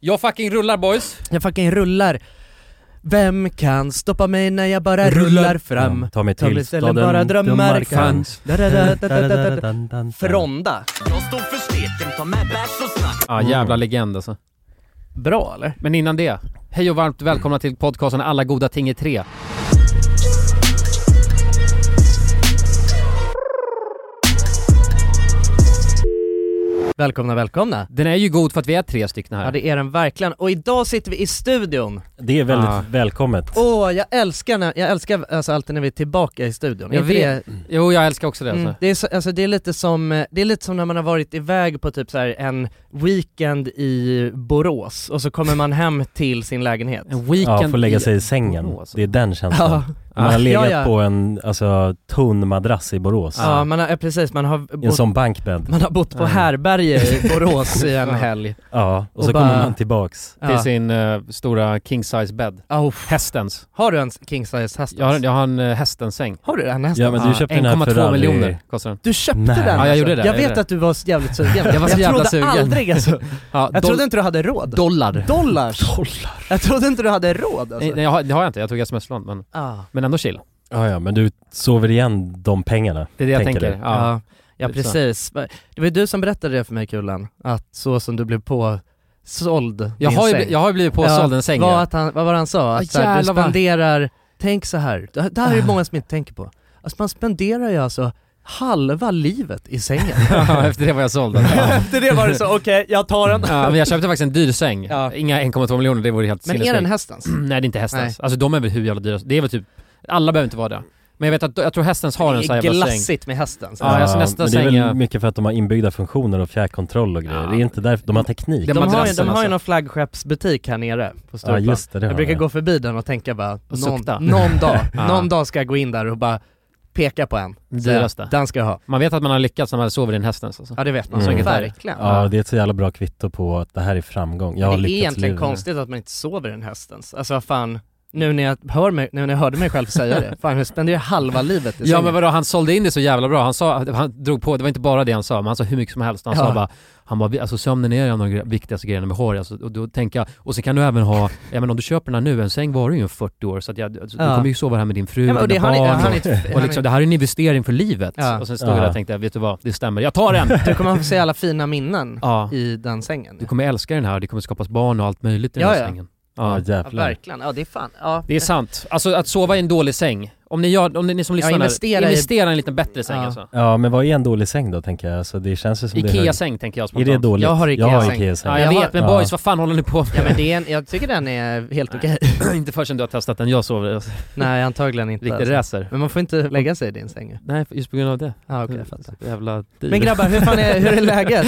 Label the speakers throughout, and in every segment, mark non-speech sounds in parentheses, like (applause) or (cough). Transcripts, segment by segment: Speaker 1: Jag fucking rullar boys.
Speaker 2: Jag fucking rullar. Vem kan stoppa mig när jag bara rullar, fram?
Speaker 3: Ta mig
Speaker 2: Ta mig
Speaker 3: till
Speaker 2: ställen bara
Speaker 3: staden,
Speaker 2: drömmar
Speaker 3: drömmar
Speaker 2: kan.
Speaker 3: fanns.
Speaker 2: Da, da, da, da, da, da, da. Fronda.
Speaker 3: Ah,
Speaker 1: Ja, jävla legend alltså.
Speaker 2: Bra eller?
Speaker 1: Men innan det, hej och varmt välkomna till podcasten Alla goda ting är tre.
Speaker 2: Välkomna, välkomna.
Speaker 1: Den är ju god för att vi är tre stycken
Speaker 2: Ja
Speaker 1: här.
Speaker 2: det är den verkligen. Och idag sitter vi i studion.
Speaker 3: Det är väldigt
Speaker 1: Ah.
Speaker 3: välkommet.
Speaker 2: Åh, jag älskar när, jag älskar alltså alltid när vi är tillbaka i studion.
Speaker 1: Jag
Speaker 2: Är inte
Speaker 1: vet.
Speaker 2: det-
Speaker 1: Jo, jag älskar också det alltså.
Speaker 2: Mm, det, är så, alltså, det är lite som, eh, det är lite som när man har varit iväg på typ så här en weekend i Borås och så kommer man hem till sin lägenhet.
Speaker 1: En weekend
Speaker 3: Ja, få lägga sig i sängen.
Speaker 1: Borås.
Speaker 3: Det är den känslan.
Speaker 2: Ja, Ah.
Speaker 3: Man har legat
Speaker 2: Ja, ja.
Speaker 3: på en alltså, tunn madrass i Borås.
Speaker 2: ja man har, eh, precis, man har
Speaker 3: I en
Speaker 2: bott,
Speaker 3: sån bankbädd.
Speaker 2: man har bott på härbärge
Speaker 1: (laughs)
Speaker 2: i Borås i en
Speaker 1: Ja.
Speaker 2: helg.
Speaker 3: Ja, och,
Speaker 2: Och
Speaker 3: så
Speaker 2: bara-
Speaker 3: kommer man tillbaks.
Speaker 1: Till
Speaker 2: Ja.
Speaker 1: sin eh, stora king size bed.
Speaker 2: Oh,
Speaker 1: Hästens.
Speaker 2: har du en king size häst?
Speaker 1: Jag har, jag har en eh, hästens säng.
Speaker 2: Har du den hästen?
Speaker 3: Ja men du
Speaker 1: Ja,
Speaker 3: köpte den här
Speaker 1: 1,2
Speaker 3: Ferrari.
Speaker 1: miljoner kostar den.
Speaker 2: Du köpte
Speaker 3: Nej.
Speaker 2: den? alltså.
Speaker 3: Ja, jag
Speaker 1: gjorde det,
Speaker 2: Jag
Speaker 1: jag
Speaker 2: vet
Speaker 1: gjorde
Speaker 2: att du var så jävligt sugen.
Speaker 1: Jag var så jävla
Speaker 2: trodde
Speaker 1: sugen.
Speaker 2: aldrig alltså.
Speaker 1: Ja,
Speaker 2: Jag
Speaker 1: doll-
Speaker 2: trodde inte du hade råd.
Speaker 1: dollar.
Speaker 2: Dollars? Jag trodde inte du hade råd alltså.
Speaker 1: eh, Nej, nej, jag har, det har jag inte. Jag tog sms-lån men,
Speaker 2: Ah.
Speaker 1: men ändå chill.
Speaker 3: Ja ja, men du sover igen de pengarna.
Speaker 1: Det är det jag
Speaker 3: Tänker
Speaker 1: tänker.
Speaker 3: du?
Speaker 1: Ja.
Speaker 2: Ja, ja
Speaker 1: Typ så.
Speaker 2: precis. Det var ju du som berättade det för mig Kulan, att så som du blev påsåld
Speaker 1: Jag,
Speaker 2: din
Speaker 1: har ju,
Speaker 2: säng.
Speaker 1: bli- jag har ju blivit påsåld en säng.
Speaker 2: Vad,
Speaker 1: ja.
Speaker 2: att han, vad var det han sa? Att
Speaker 1: Ah,
Speaker 2: så här, du
Speaker 1: jävlar vad- Ah.
Speaker 2: spenderar, tänk så här. det det här är ju många som inte tänker på. Alltså man spenderar ju alltså halva livet i sängen.
Speaker 1: (laughs) Ja,
Speaker 2: (laughs)
Speaker 1: Efter det var jag såld. Ja.
Speaker 2: Efter det var det så, okej jag tar den.
Speaker 1: Ja, men jag köpte faktiskt en dyr säng.
Speaker 2: Ja.
Speaker 1: Inga 1,2 miljoner, det vore helt
Speaker 2: (laughs) Men är
Speaker 1: sinnessjukt.
Speaker 2: den hästens?
Speaker 1: (clears throat) Nej det är inte hästens.
Speaker 2: Nej.
Speaker 1: Alltså de är väl hur jävla dyra som- Det är väl typ, alla behöver inte vara det. Men jag vet att, jag tror hästens har en
Speaker 2: Det
Speaker 1: sån här
Speaker 2: är
Speaker 1: jävla säng.
Speaker 2: glassigt med hästen. så.
Speaker 1: Ja, alltså nästa
Speaker 3: Ah, men det är
Speaker 1: säng
Speaker 3: väl
Speaker 1: är-
Speaker 3: mycket för att de har inbyggda funktioner och fjärrkontroll och grejer.
Speaker 1: Ja.
Speaker 3: Det är inte därför, de har teknik.
Speaker 1: Det-
Speaker 2: De har, ju, de
Speaker 1: madrassen,
Speaker 2: har ju
Speaker 1: alltså.
Speaker 2: någon flaggskeppsbutik här nere på
Speaker 3: Ja
Speaker 2: Stureplan.
Speaker 3: just det, det
Speaker 2: Jag
Speaker 3: har
Speaker 2: brukar
Speaker 3: de.
Speaker 2: gå förbi den och tänka bara,
Speaker 1: Och
Speaker 2: någon,
Speaker 1: sukta.
Speaker 2: någon dag,
Speaker 1: (laughs) Ja.
Speaker 2: någon dag ska jag gå in där och bara peka på en.
Speaker 1: Den
Speaker 2: Säga,
Speaker 1: dyraste.
Speaker 2: Den ska jag ha.
Speaker 1: Man vet att man har lyckats när man sover i en hästens alltså.
Speaker 2: Ja det vet man.
Speaker 3: Mm.
Speaker 2: Så Verkligen.
Speaker 3: Ja, det är ett så jävla bra kvitto på att det här är framgång. Jag har
Speaker 2: det är
Speaker 3: lyckats i
Speaker 2: egentligen
Speaker 3: livet.
Speaker 2: konstigt att man inte sover i den hästens. Alltså vad fan, nu när jag, hör mig, nu när jag hörde mig själv säga det, fan jag spenderar halva livet i
Speaker 1: Ja
Speaker 2: sängen.
Speaker 1: men vadå, han sålde in det så jävla bra. Han sa, han drog på, det var inte bara det han sa, men han sa hur mycket som helst. Han
Speaker 2: Ja.
Speaker 1: sa bara, han bara, alltså sömnen är en av de gre- viktigaste grejerna med hår. Alltså, och då tänker jag, och sen kan du även ha, ja men om du köper den här nu, en säng var du ju 40 år så att jag, alltså, du
Speaker 2: Ja.
Speaker 1: kommer ju sova här med din fru
Speaker 2: Ja, men,
Speaker 1: och
Speaker 2: och det
Speaker 1: dina
Speaker 2: har ni,
Speaker 1: barn.
Speaker 2: har ni,
Speaker 1: och, och liksom, det här är en investering för livet.
Speaker 2: Ja.
Speaker 1: Och sen stod
Speaker 3: Ja.
Speaker 1: jag där och tänkte, vet du vad, det stämmer, jag tar
Speaker 2: (laughs)
Speaker 1: den!
Speaker 2: du kommer få se alla fina minnen
Speaker 1: Ja.
Speaker 2: i den sängen.
Speaker 1: Du kommer älska den här, det kommer skapas barn och allt möjligt i
Speaker 2: Ja,
Speaker 1: den här
Speaker 2: ja.
Speaker 1: sängen.
Speaker 2: Ja,
Speaker 3: Ja jävlar.
Speaker 2: verkligen, ja det är fan, ja.
Speaker 1: Det är sant. Alltså att sova i en dålig säng. Om ni, gör, om ni, ni som lyssnar,
Speaker 2: investera i-
Speaker 1: investera, investera i en lite bättre säng
Speaker 2: Ja.
Speaker 1: alltså.
Speaker 3: Ja men vad är en dålig säng då tänker jag? Alltså, det känns ju som det är hög-
Speaker 1: Ikea-säng tänker jag
Speaker 3: Är
Speaker 1: spontant.
Speaker 3: det dåligt?
Speaker 2: Jag har Ikea-säng.
Speaker 3: Ikea-säng.
Speaker 1: Ja, jag,
Speaker 2: Jag har-
Speaker 1: vet, men
Speaker 3: Ja.
Speaker 1: boys vad fan håller ni på med?
Speaker 2: Ja men det är en, jag tycker den är helt okej.
Speaker 1: (laughs) inte förrän du har testat den jag sover i. Alltså.
Speaker 2: (laughs) Nej antagligen inte.
Speaker 1: Riktigt
Speaker 2: alltså.
Speaker 1: racer.
Speaker 2: Men man får inte lägga sig i din säng ju.
Speaker 1: Nej, just på grund av det.
Speaker 2: Ja okej jag fattar.
Speaker 1: Jävla dyr.
Speaker 2: Men grabbar, hur fan är, hur
Speaker 1: (laughs)
Speaker 2: är läget?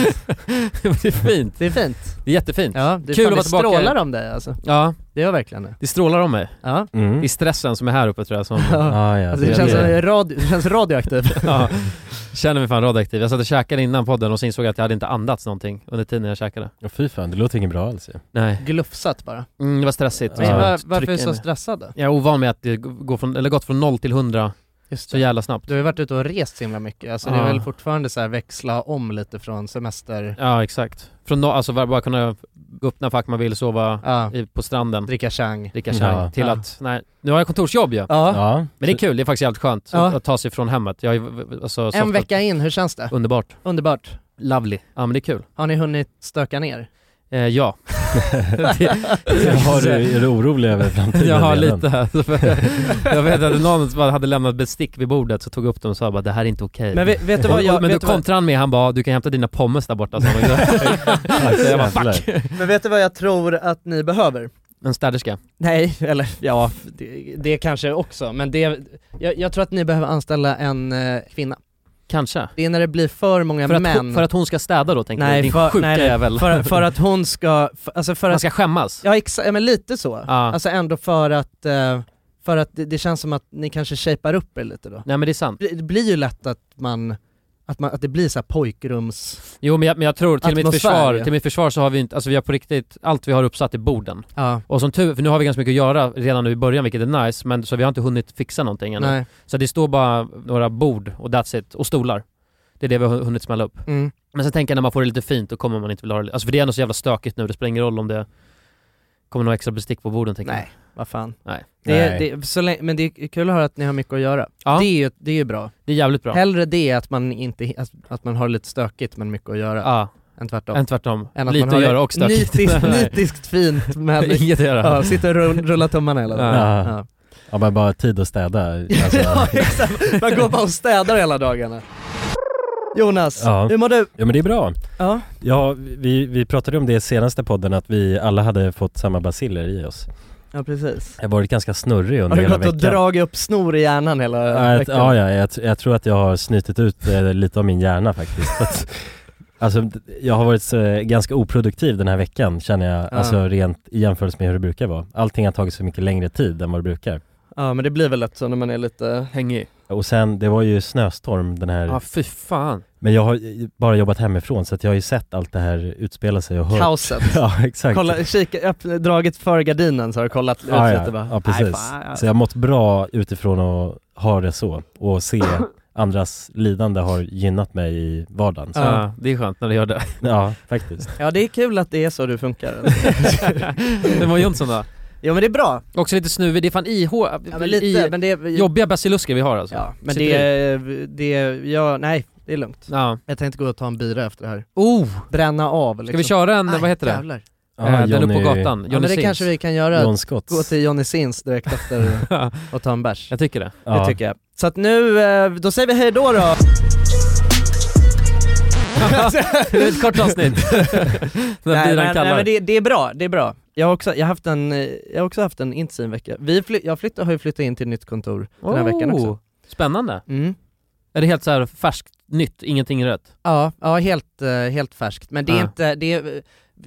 Speaker 1: det är fint.
Speaker 2: Det är fint.
Speaker 1: Det är jättefint.
Speaker 2: Ja, det,
Speaker 1: Kul
Speaker 2: fan,
Speaker 1: att vara
Speaker 2: det
Speaker 1: tillbaka.
Speaker 2: strålar om dig alltså.
Speaker 1: Ja,
Speaker 2: Det gör verkligen det.
Speaker 1: det strålar om mig.
Speaker 2: Ja.
Speaker 3: Mm.
Speaker 1: Det är stressen som är här uppe tror
Speaker 2: (laughs)
Speaker 1: jag som...
Speaker 3: Ah, Ja, ja,
Speaker 2: Alltså, det,
Speaker 3: det-
Speaker 2: känns som,
Speaker 3: det-
Speaker 2: radio, det känns radioaktiv.
Speaker 1: ja, känner mig fan radioaktiv. Jag satt och käkade innan podden och så insåg jag att jag hade inte andats någonting under tiden jag käkade.
Speaker 3: Ja, Fy fan, det låter inget bra alls ju.
Speaker 1: Nej.
Speaker 2: Glufsat bara.
Speaker 1: Mm, det var stressigt.
Speaker 2: Men
Speaker 3: Ja.
Speaker 2: var, varför är du
Speaker 1: Trycka
Speaker 2: så
Speaker 1: in.
Speaker 2: stressad då?
Speaker 1: Jag är ovan med att det g- går från, eller gått från 0 till 100
Speaker 2: Just
Speaker 1: så
Speaker 2: det.
Speaker 1: jävla snabbt.
Speaker 2: Du har ju varit ute och rest så himla mycket, alltså det är
Speaker 1: Ja.
Speaker 2: väl fortfarande så här växla om lite från semester,
Speaker 1: Ja exakt. Från no, alltså bara bara kunna gå upp när fuck man vill, sova
Speaker 2: ja,
Speaker 1: i, på stranden,
Speaker 2: dricka chang.
Speaker 1: dricka chai,
Speaker 3: Ja.
Speaker 1: till
Speaker 2: Ja.
Speaker 1: att, nej, nu har jag kontorsjobb ju.
Speaker 2: Ja.
Speaker 3: Ja.
Speaker 1: Men det är kul, det är faktiskt jävligt skönt
Speaker 2: Ja.
Speaker 1: att, att ta sig från hemmet. Jag har ju, v- alltså,
Speaker 2: En
Speaker 1: softat.
Speaker 2: vecka in, hur känns det?
Speaker 1: Underbart.
Speaker 2: Underbart.
Speaker 1: Lovely. Ja men det är kul.
Speaker 2: Har ni hunnit stöka ner?
Speaker 1: Eh,
Speaker 3: (laughs)
Speaker 1: ja.
Speaker 3: Har
Speaker 1: (laughs)
Speaker 3: du, är du orolig över framtiden
Speaker 1: Jag har
Speaker 3: redan?
Speaker 1: lite (laughs) Jag vet
Speaker 3: (laughs)
Speaker 1: att någon som bara hade lämnat bestick vid bordet så tog upp dem och sa bara det här är inte okej.
Speaker 2: Men vet, vet
Speaker 1: (laughs)
Speaker 2: du vad
Speaker 1: Och-
Speaker 2: jag,
Speaker 1: men då
Speaker 2: vet du vad,
Speaker 1: kontrade han med, han bara du kan hämta dina pommes där borta. Så
Speaker 2: (laughs)
Speaker 1: jag bara
Speaker 3: Jävlar.
Speaker 1: fuck.
Speaker 2: men vet du vad jag tror att ni behöver?
Speaker 1: En städerska.
Speaker 2: Nej, eller ja, det, det kanske också, men det, jag, jag tror att ni behöver anställa en eh, kvinna.
Speaker 1: Kanske.
Speaker 2: Det är när det blir för många
Speaker 1: För att,
Speaker 2: män.
Speaker 1: hon, för att hon ska städa då tänker
Speaker 2: Nej,
Speaker 1: du? Din
Speaker 2: för-
Speaker 1: sjuka
Speaker 2: nej, nej.
Speaker 1: jävel.
Speaker 2: för, för att hon ska, för, alltså för
Speaker 1: Man
Speaker 2: att,
Speaker 1: ska skämmas.
Speaker 2: ja exakt, ja, men lite så.
Speaker 1: Ja.
Speaker 2: Alltså ändå för att, eh, för att det, det känns som att ni kanske shapear upp er lite då.
Speaker 1: Nej men det är sant.
Speaker 2: Det, det blir ju lätt att man, att, man, att det blir så här pojkrums...
Speaker 1: Jo men jag, men jag tror, till mitt,
Speaker 2: Atmosfär,
Speaker 1: försvar,
Speaker 2: ja.
Speaker 1: till mitt försvar så har vi inte, alltså vi har på riktigt, allt vi har uppsatt i borden.
Speaker 2: Ja,
Speaker 1: Och som tur för nu har vi ganska mycket att göra redan nu i början vilket är nice, men så vi har inte hunnit fixa någonting ännu.
Speaker 2: nej.
Speaker 1: Så det står bara några bord och that's it, och stolar. Det är det vi har hunnit smälla upp.
Speaker 2: Mm.
Speaker 1: Men sen tänker jag när man får det lite fint, då kommer man inte vilja ha det. Alltså för det är ändå så jävla stökigt nu, det spelar ingen roll om det kommer några extra bestick på borden tänker
Speaker 2: Nej, vad fan.
Speaker 1: jag. Nej.
Speaker 2: (laughs) Det är,
Speaker 3: Nej.
Speaker 2: det, så länge, men det är kul att höra att ni har mycket att göra.
Speaker 1: Ja,
Speaker 2: Det
Speaker 1: det,
Speaker 2: är ju det är ju bra.
Speaker 1: är jävligt bra.
Speaker 2: Hellre det att man, inte, att, att man har lite stökigt men mycket att göra,
Speaker 1: Ja,
Speaker 2: än tvärtom.
Speaker 1: än tvärtom.
Speaker 2: än att
Speaker 1: lite
Speaker 2: man har
Speaker 1: att göra
Speaker 2: det
Speaker 1: och stökigt. (laughs)
Speaker 2: Nitiskt,
Speaker 1: Nej.
Speaker 2: nitiskt fint men
Speaker 1: (laughs) Inget att göra.
Speaker 2: ja, sitta och rull- rulla tummarna hela dagen.
Speaker 3: Ja.
Speaker 2: Ja.
Speaker 3: Ja men bara tid
Speaker 2: (laughs)
Speaker 3: att städa. Alltså,
Speaker 2: ja exakt, man går bara och städar hela dagarna. Jonas,
Speaker 3: Ja.
Speaker 2: hur mår du?
Speaker 3: ja men det är bra.
Speaker 2: Ja.
Speaker 3: Ja, vi, vi pratade om det i senaste podden att vi alla hade fått samma basiller i oss.
Speaker 2: ja, precis.
Speaker 3: Jag har varit ganska snurrig
Speaker 2: Har
Speaker 3: under
Speaker 2: du
Speaker 3: hela
Speaker 2: gått och
Speaker 3: veckan.
Speaker 2: dragit upp snor i hjärnan hela
Speaker 3: Ja, jag,
Speaker 2: veckan?
Speaker 3: ja, ja jag, tr- jag tror att jag har snytit ut eh, lite av min hjärna faktiskt. Att- (laughs) alltså, d- jag har varit eh, ganska oproduktiv den här veckan känner jag,
Speaker 2: Ja.
Speaker 3: alltså rent i jämförelse med hur det brukar vara. Allting har tagit så mycket längre tid än vad det brukar.
Speaker 2: ja, men det blir väl lätt så när man är lite...
Speaker 1: Hängig.
Speaker 3: Och sen, det var ju snöstorm den här,
Speaker 1: Ja, fy fan.
Speaker 3: men jag har eh, bara jobbat hemifrån så att jag har ju sett allt det här utspela sig och hört.
Speaker 2: Kaoset.
Speaker 3: Ja, (laughs) exakt.
Speaker 2: Kolla, kika, öpp, dragit för gardinen så har du kollat ut
Speaker 3: ja,
Speaker 2: lite bara.
Speaker 3: ja, precis.
Speaker 2: Nej, fan,
Speaker 3: Så jag har mått bra utifrån att ha det så
Speaker 1: (laughs)
Speaker 3: och se andras lidande har gynnat mig i vardagen. Så,
Speaker 1: Ja.
Speaker 2: Ja.
Speaker 1: det är skönt när det gör
Speaker 2: (laughs)
Speaker 1: det.
Speaker 3: (laughs) ja, faktiskt.
Speaker 2: ja det är kul att det är så du
Speaker 3: (laughs)
Speaker 2: funkar.
Speaker 1: Hur mår Jonsson då?
Speaker 2: jo men det är bra.
Speaker 1: Också lite snuvig, det är fan IH,
Speaker 2: Ja, men lite,
Speaker 1: i,
Speaker 2: men det... är
Speaker 1: jobbiga basilusker vi har alltså.
Speaker 2: ja, men
Speaker 1: Sitter
Speaker 2: det, det, ja, nej det är lugnt.
Speaker 1: Ja.
Speaker 2: Jag tänkte gå och ta en bira efter det här.
Speaker 1: Oh,
Speaker 2: Bränna av liksom.
Speaker 1: ska vi köra en, vad heter det?
Speaker 2: Jävlar.
Speaker 1: Eh, den uppe på gatan,
Speaker 2: Ja, men
Speaker 1: Johnny
Speaker 2: det kanske vi kan göra.
Speaker 3: John Scotts.
Speaker 2: Gå till Johnny
Speaker 1: (laughs)
Speaker 2: Sins direkt efter och ta en bärs.
Speaker 1: Jag
Speaker 2: (laughs)
Speaker 1: tycker det. (laughs)
Speaker 3: Ja.
Speaker 2: Det tycker jag. Så att nu, eh, då säger vi hej då då.
Speaker 1: det är ett kort avsnitt. Den här biran
Speaker 2: men, nej,
Speaker 1: kallar.
Speaker 2: men det, det är bra, det är bra. Jag har också, jag har haft, en, eh, jag har också haft en intensiv vecka. Vi fly, jag flytt, har ju flyttat in till nytt kontor den här veckan
Speaker 1: Oh.
Speaker 2: också.
Speaker 1: Spännande.
Speaker 2: Mm.
Speaker 1: Är det helt så här färskt, nytt, ingenting är rätt?
Speaker 2: Ja, ja helt, eh, helt färskt. Men det är
Speaker 1: Ja.
Speaker 2: inte, det är,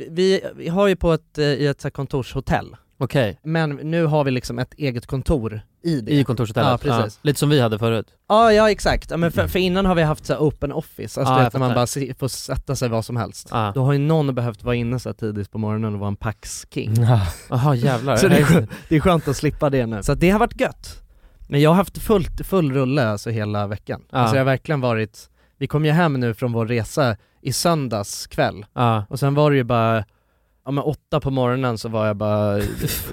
Speaker 2: vi, vi har ju på ett, eh, i ett så här kontorshotell,
Speaker 1: Okej,
Speaker 2: men nu har vi liksom ett eget kontor i det.
Speaker 1: i kontorshotellet.
Speaker 2: Ja, precis.
Speaker 1: Lite som vi hade förut.
Speaker 2: Ja, ja exakt. Ja, men för, för innan har vi haft så här open office, alltså
Speaker 1: Ja,
Speaker 2: du
Speaker 1: jag
Speaker 2: vet, när man
Speaker 1: fattar.
Speaker 2: bara si- får sätta sig vad som helst.
Speaker 1: Ja.
Speaker 2: Då har ju någon behövt vara inne så här tidigt på morgonen och vara en paxking.
Speaker 3: (laughs)
Speaker 1: Mm.
Speaker 3: Ja.
Speaker 1: Jaha jävlar.
Speaker 2: Så det är
Speaker 1: Nej,
Speaker 2: skönt, det är skönt att slippa det nu. Så att det har varit gött. Men jag har haft fullt, full rulle alltså hela veckan.
Speaker 1: Ja.
Speaker 2: Alltså jag har verkligen varit, vi kom ju hem nu från vår resa i söndags kväll
Speaker 1: ja.
Speaker 2: och sen var det ju bara, ja men åtta på morgonen så var jag
Speaker 1: (laughs)
Speaker 2: bara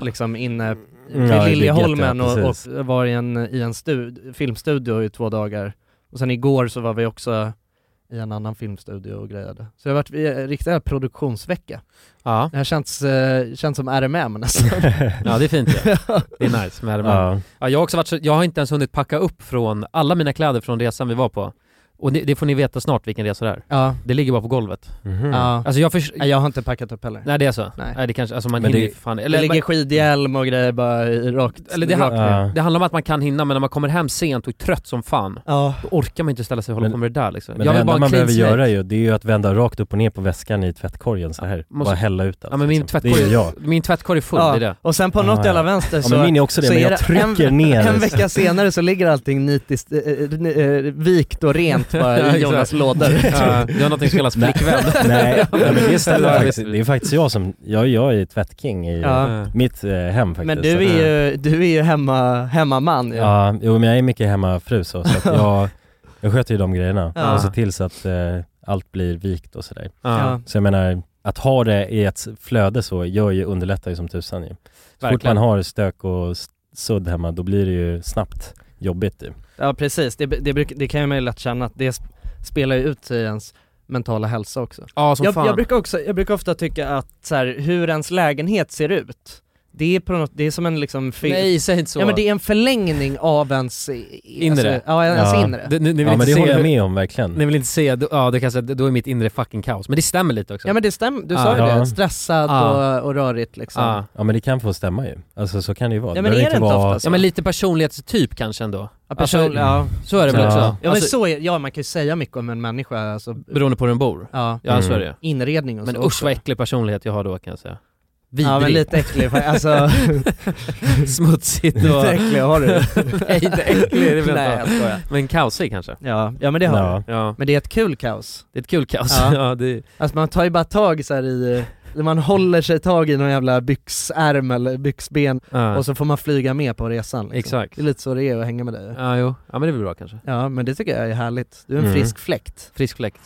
Speaker 2: liksom inne vid
Speaker 3: Mm. Ja, i
Speaker 2: Liljeholmen
Speaker 3: ligget, ja,
Speaker 2: och,
Speaker 3: precis.
Speaker 2: och var i en, i en stud, filmstudio i två dagar. Och sen igår så var vi också i en annan filmstudio och grejade. Så jag har varit i en riktig jävla produktionsvecka.
Speaker 1: Ja.
Speaker 2: Det här känns, eh, känns som RMM nästan.
Speaker 1: ja, det är fint det. Det är nice med det.
Speaker 3: ja.
Speaker 1: Ja, jag, har också varit så, jag har inte ens hunnit packa upp från alla mina kläder från resan vi var på. Och det, det får ni veta snart vilken resa det är.
Speaker 2: ja.
Speaker 1: Det ligger bara på golvet.
Speaker 3: Mhm.
Speaker 2: Ja.
Speaker 1: Alltså jag förs-
Speaker 2: Nej, jag har inte packat upp heller.
Speaker 1: Nej det är så?
Speaker 2: Nej.
Speaker 1: Nej, det kanske, alltså man
Speaker 3: Men
Speaker 1: hinner
Speaker 3: det-
Speaker 1: ju för fan.
Speaker 2: Eller
Speaker 1: Eller,
Speaker 2: det ligger skidhjälm och grejer bara i rakt
Speaker 1: Eller det
Speaker 2: rakt
Speaker 1: har-
Speaker 2: ner.
Speaker 3: Ja.
Speaker 1: det handlar om att man kan hinna men när man kommer hem sent och är trött som fan,
Speaker 2: Ja.
Speaker 1: då orkar man inte ställa sig och hålla
Speaker 3: Men-
Speaker 1: på med det där liksom.
Speaker 3: Men det
Speaker 1: ha
Speaker 3: enda
Speaker 1: en
Speaker 3: man
Speaker 1: clean
Speaker 3: behöver
Speaker 1: slate.
Speaker 3: göra ju, det är ju att vända rakt upp och ner på väskan i tvättkorgen så här.
Speaker 1: Måste-
Speaker 3: Bara hälla ut allt.
Speaker 1: Ja men min
Speaker 3: liksom. Det är
Speaker 1: tvättkorg,
Speaker 3: ju jag.
Speaker 1: min tvättkorg är full,
Speaker 2: Ja.
Speaker 1: det är det.
Speaker 2: Och sen på något
Speaker 3: Ja, ja.
Speaker 2: jävla vänster
Speaker 3: Ja
Speaker 2: så...
Speaker 3: men min är också det,
Speaker 2: så
Speaker 3: men
Speaker 2: är
Speaker 3: jag trycker
Speaker 2: en,
Speaker 3: ner. liksom.
Speaker 2: En vecka senare så ligger allting nitiskt eh, eh, eh, vikt och rent bara i
Speaker 1: Ja,
Speaker 2: Jonas
Speaker 1: exakt.
Speaker 2: lådor.
Speaker 1: Ja, det Eh, har någonting som kallas
Speaker 3: Nej.
Speaker 1: flickvän.
Speaker 3: (laughs)
Speaker 1: (laughs)
Speaker 3: Nej, nej men
Speaker 2: (laughs)
Speaker 3: det stämmer
Speaker 1: Ja,
Speaker 3: faktiskt.
Speaker 1: visst.
Speaker 3: Det är faktiskt jag som, jag, jag är tvättking i
Speaker 2: Ja.
Speaker 3: mitt eh, hem faktiskt.
Speaker 2: Men
Speaker 3: Så
Speaker 2: du
Speaker 3: att-
Speaker 2: är ju, du är ju hemma, hemmaman ju.
Speaker 3: Ja, jo men jag är mycket hemmafru så, så
Speaker 2: (laughs)
Speaker 3: att jag, jag sköter ju de grejerna
Speaker 2: Ja.
Speaker 3: och ser till så att eh, allt blir vikt och sådär.
Speaker 1: Ja.
Speaker 3: Så jag menar, att ha det i ett flöde så gör ju, underlättar ju som tusan ju. Så fort
Speaker 1: Verkligen.
Speaker 3: man har stök och s- sudd hemma, då blir det ju snabbt jobbigt ju.
Speaker 2: Ja, precis, det, det, bruk, det kan ju man ju lätt känna att det sp- spelar ju ut sig i ens mentala hälsa också.
Speaker 1: ja, som
Speaker 2: jag,
Speaker 1: fan.
Speaker 2: jag, brukar också, jag brukar ofta tycka att så här, hur ens lägenhet ser ut, det är, på något, det är som en liksom fi-
Speaker 1: Nej, säg inte så.
Speaker 2: Ja men det är en förlängning av ens i- i-
Speaker 1: Inre.
Speaker 2: Alltså, ja, ens
Speaker 3: Ja.
Speaker 2: inre.
Speaker 1: Det- ni, ni vill
Speaker 3: Ja men
Speaker 1: inte
Speaker 3: det
Speaker 1: se,
Speaker 3: håller jag med om verkligen.
Speaker 1: Ni vill inte se, då- ja det kan jag säga, då är mitt inre fucking kaos. Men det stämmer lite också.
Speaker 2: Ja men det stämmer, du sa ju
Speaker 3: Ja.
Speaker 2: det, stressad
Speaker 1: Ja.
Speaker 2: och, och rörigt liksom.
Speaker 1: ja.
Speaker 3: Ja men det kan få stämma ju. Alltså så kan det ju vara.
Speaker 2: Ja, men
Speaker 3: behöver
Speaker 2: är det inte ofta så?
Speaker 1: ja men lite personlighetstyp kanske ändå.
Speaker 2: Ja, person,
Speaker 1: Alltså,
Speaker 2: ja.
Speaker 1: Så är det väl
Speaker 3: Ja.
Speaker 1: också.
Speaker 3: Ja,
Speaker 2: ja men
Speaker 1: Alltså,
Speaker 2: så är, ja man kan ju säga mycket om en människa, alltså,
Speaker 1: beroende på hur den bor.
Speaker 2: ja,
Speaker 1: Ja
Speaker 3: Mm.
Speaker 1: så är det ju.
Speaker 2: inredning och
Speaker 1: Men
Speaker 2: så.
Speaker 1: usch vad äcklig personlighet jag har då kan jag säga. Vidrig.
Speaker 2: Ja men lite äcklig, alltså,
Speaker 1: (laughs) Smutsigt och...
Speaker 2: (laughs) lite äcklig har du.
Speaker 1: (laughs)
Speaker 2: (laughs)
Speaker 1: Nej inte äcklig, det blir
Speaker 2: Nej
Speaker 1: inte.
Speaker 2: jag skojar.
Speaker 1: Men kaosig kanske.
Speaker 2: Ja, ja men det har du.
Speaker 3: ja.
Speaker 1: Ja,
Speaker 2: Men det är ett kul kaos.
Speaker 1: det är ett kul kaos.
Speaker 2: Ja.
Speaker 1: (laughs) Ja, det,
Speaker 2: Alltså man tar ju bara tag så här i, man håller sig tag i någon jävla byxärm eller byxben
Speaker 1: Ja,
Speaker 2: och så får man flyga med på resan liksom.
Speaker 1: exakt.
Speaker 2: Det är lite så det är att hänga med dig
Speaker 1: Ja, jo. Ja, men det är väl bra kanske.
Speaker 2: Ja men det tycker jag är härligt, du är en
Speaker 3: Mm.
Speaker 2: frisk
Speaker 3: (laughs)
Speaker 2: fläkt
Speaker 1: Frisk fläkt.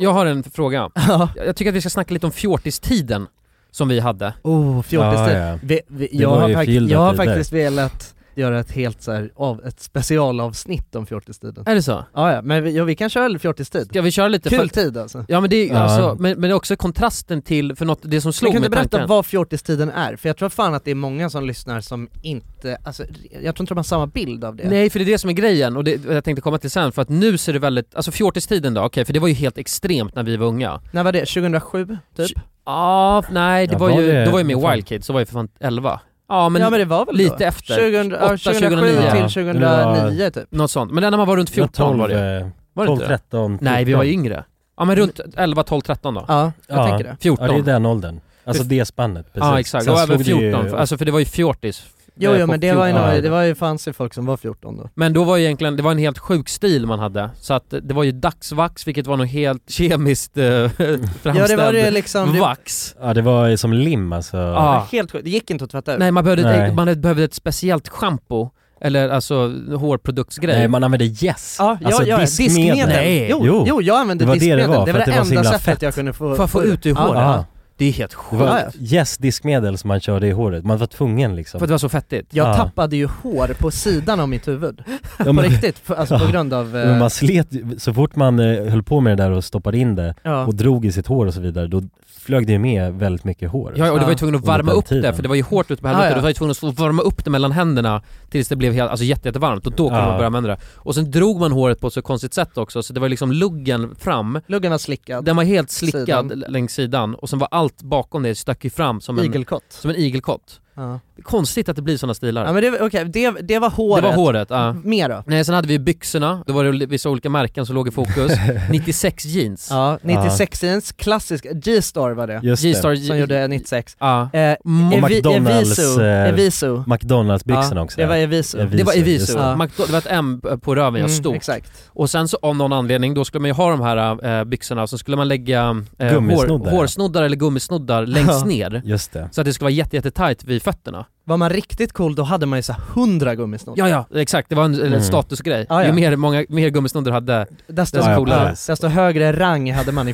Speaker 1: Jag har en fråga.
Speaker 2: Ja,
Speaker 1: Jag jag tycker att vi ska snacka lite om fjortistiden som vi hade.
Speaker 2: (laughs) oh fjortistid
Speaker 3: Ja, ja.
Speaker 2: Vi, vi,
Speaker 3: Det
Speaker 2: jag
Speaker 3: var
Speaker 2: har,
Speaker 3: ju
Speaker 2: fakt-
Speaker 3: förgyllda
Speaker 2: jag har
Speaker 3: tider.
Speaker 2: faktiskt velat göra ett helt så här, av, ett specialavsnitt om fjortistiden
Speaker 1: Är det så?
Speaker 2: Ja, ja men vi, ja, vi kan köra fjortistid
Speaker 1: Ska vi köra lite?
Speaker 2: Kul
Speaker 1: för-
Speaker 2: tid alltså
Speaker 1: Ja men det är
Speaker 3: Ja.
Speaker 1: alltså, men, men det är också kontrasten till, för något, det som
Speaker 2: Men
Speaker 1: slog
Speaker 2: kan
Speaker 1: mig
Speaker 2: du berätta
Speaker 1: tanken.
Speaker 2: vad fjortistiden är? För jag tror fan att det är många som lyssnar som inte, alltså, jag tror inte de har samma bild av det
Speaker 1: Nej för det är det som är grejen och det och jag tänkte komma till sen för att nu ser det väldigt, alltså fjortistiden då, okej för det var ju helt extremt när vi var unga.
Speaker 2: När var det? 2007? Typ?
Speaker 1: Tj- Ja, nej det
Speaker 3: Ja,
Speaker 1: var,
Speaker 3: var
Speaker 1: ju,
Speaker 3: det-
Speaker 1: då var ju med
Speaker 3: vad fan?
Speaker 1: Wild Kids, så var ju för fan 11. Ja men,
Speaker 2: ja men det var väl
Speaker 1: lite
Speaker 2: då?
Speaker 1: efter.
Speaker 2: 2000, ja,
Speaker 1: 8,
Speaker 2: 2007
Speaker 1: 2009.
Speaker 2: till 2009 typ
Speaker 1: något sånt. Men när man var runt 14 var det
Speaker 3: eh,
Speaker 1: Var det
Speaker 3: 12,
Speaker 1: inte det?
Speaker 3: 13, 14.
Speaker 1: Nej vi var yngre. Ja men runt 11, 12, 13 då.
Speaker 2: Ja, jag
Speaker 3: Ja.
Speaker 2: tänker det
Speaker 3: Ja
Speaker 1: 14.
Speaker 3: det är den åldern. Alltså
Speaker 1: Det-
Speaker 3: det spannet precis.
Speaker 1: Ja exakt,
Speaker 3: Sen
Speaker 1: och även
Speaker 3: slog det ju-
Speaker 1: 14, för, alltså för det var ju fjortis.
Speaker 2: Jo,
Speaker 1: eh,
Speaker 2: jo
Speaker 1: på
Speaker 2: men det var, ju
Speaker 1: 14.
Speaker 2: några, det var ju fancy folk som var 14 då
Speaker 1: Men då var ju egentligen, det var en helt sjuk stil man hade. Så att det var ju dagsvax vilket var något helt kemiskt eh, (laughs) framställd
Speaker 2: Ja det var det liksom, det var
Speaker 1: vax.
Speaker 3: Ja det var ju som lim alltså.
Speaker 1: Ja.
Speaker 2: helt sjukt, det gick inte att tvätta ut
Speaker 1: Nej man behövde,
Speaker 3: Nej.
Speaker 1: man behövde ett speciellt schampo, eller alltså hårproduktsgrej.
Speaker 3: Nej man använde gäss.
Speaker 2: Ja, ja,
Speaker 3: alltså
Speaker 2: ja, diskmedel.
Speaker 1: Nej.
Speaker 2: Jo, jo.
Speaker 3: Jo.
Speaker 2: jag använde
Speaker 3: Det var det det
Speaker 2: diskmedel, det var
Speaker 3: var,
Speaker 2: det,
Speaker 3: för att det var så
Speaker 2: enda
Speaker 3: himla
Speaker 2: sättet
Speaker 3: fett.
Speaker 2: jag kunde få
Speaker 1: För att få ut ur
Speaker 2: Ja,
Speaker 1: håret.
Speaker 2: ja.
Speaker 3: Ja.
Speaker 1: Det är helt
Speaker 3: Det
Speaker 1: sjukt.
Speaker 3: var
Speaker 2: Ja, ja.
Speaker 3: gäss, diskmedel som man körde i håret. Man var tvungen liksom.
Speaker 1: För att det var så fettigt.
Speaker 2: Jag
Speaker 3: Ja.
Speaker 2: tappade ju hår på sidan av mitt huvud,
Speaker 3: Ja,
Speaker 2: på
Speaker 3: men-
Speaker 2: riktigt, för, alltså på
Speaker 3: Ja.
Speaker 2: grund av... eh,
Speaker 3: Men man slet, ju- så fort man eh, höll på med det där och stoppade in det
Speaker 2: eh, ja.
Speaker 3: och drog i sitt hår och så vidare, då flög det ju med väldigt mycket hår.
Speaker 1: Ja, och det var ju tvungen att
Speaker 3: Under
Speaker 1: varma
Speaker 3: den
Speaker 1: upp det
Speaker 3: tiden.
Speaker 1: för det var ju hårt ute på
Speaker 2: Ah,
Speaker 1: helvete.
Speaker 2: ja.
Speaker 1: Då var ju tvungen att få varma upp det mellan händerna tills det blev helt, alltså jätte, jättevarmt och då kunde
Speaker 3: Ja.
Speaker 1: man börja använda det. Och sen drog man håret på ett så konstigt sätt också så det var liksom luggen fram
Speaker 2: Luggen var slickad,
Speaker 1: Den var helt slickad
Speaker 2: Sidan.
Speaker 1: l- längs sidan och sen var allt bakom det stack ju fram som en,
Speaker 2: igelkott.
Speaker 1: som en igelkott.
Speaker 2: Ja.
Speaker 1: Konstigt att det blir sådana stilar.
Speaker 2: ja men det, okej, det, det var håret.
Speaker 1: det var håret, ja.
Speaker 2: Mer då?
Speaker 1: Nej sen hade vi byxorna, då var det vissa olika märken som låg i
Speaker 3: (laughs)
Speaker 1: fokus. 96 jeans.
Speaker 2: Ja, 96 ens klassisk, G-star var det,
Speaker 3: Just det.
Speaker 1: G-star
Speaker 2: som gjorde 96.
Speaker 1: Ja.
Speaker 2: Eh,
Speaker 1: Mm.
Speaker 3: Och
Speaker 2: Evi-
Speaker 3: McDonalds,
Speaker 2: Eviso,
Speaker 3: eh,
Speaker 2: Eviso.
Speaker 3: McDonalds-byxorna
Speaker 2: Ja,
Speaker 3: också.
Speaker 2: Det var Eviso.
Speaker 3: Eviso.
Speaker 1: Det var
Speaker 3: Visor,
Speaker 1: Eviso,
Speaker 3: just
Speaker 2: det.
Speaker 1: ja. det var ett M på röven, ja,
Speaker 2: Mm,
Speaker 1: stort.
Speaker 2: Exakt.
Speaker 1: Och sen så av någon anledning, då skulle man ju ha de här äh, byxorna, så skulle man lägga äh,
Speaker 3: Gummisnoddar,
Speaker 1: hår,
Speaker 3: ja.
Speaker 1: hårsnoddar eller gummisnoddar längst
Speaker 2: Ja.
Speaker 1: ner.
Speaker 3: Just det.
Speaker 1: Så att det skulle vara jätte, jätte tight vid fötterna.
Speaker 2: Var man riktigt cool då hade man ju så här 100 gummisnoddar.
Speaker 1: Ja, ja, exakt. Det var en, en
Speaker 3: Mm.
Speaker 1: statusgrej.
Speaker 2: Ja, ja.
Speaker 1: Ju mer, många, mer gummisnoddar hade,
Speaker 2: Desto,
Speaker 1: Ja, ja,
Speaker 2: ja,
Speaker 3: precis.
Speaker 2: desto högre rang hade man i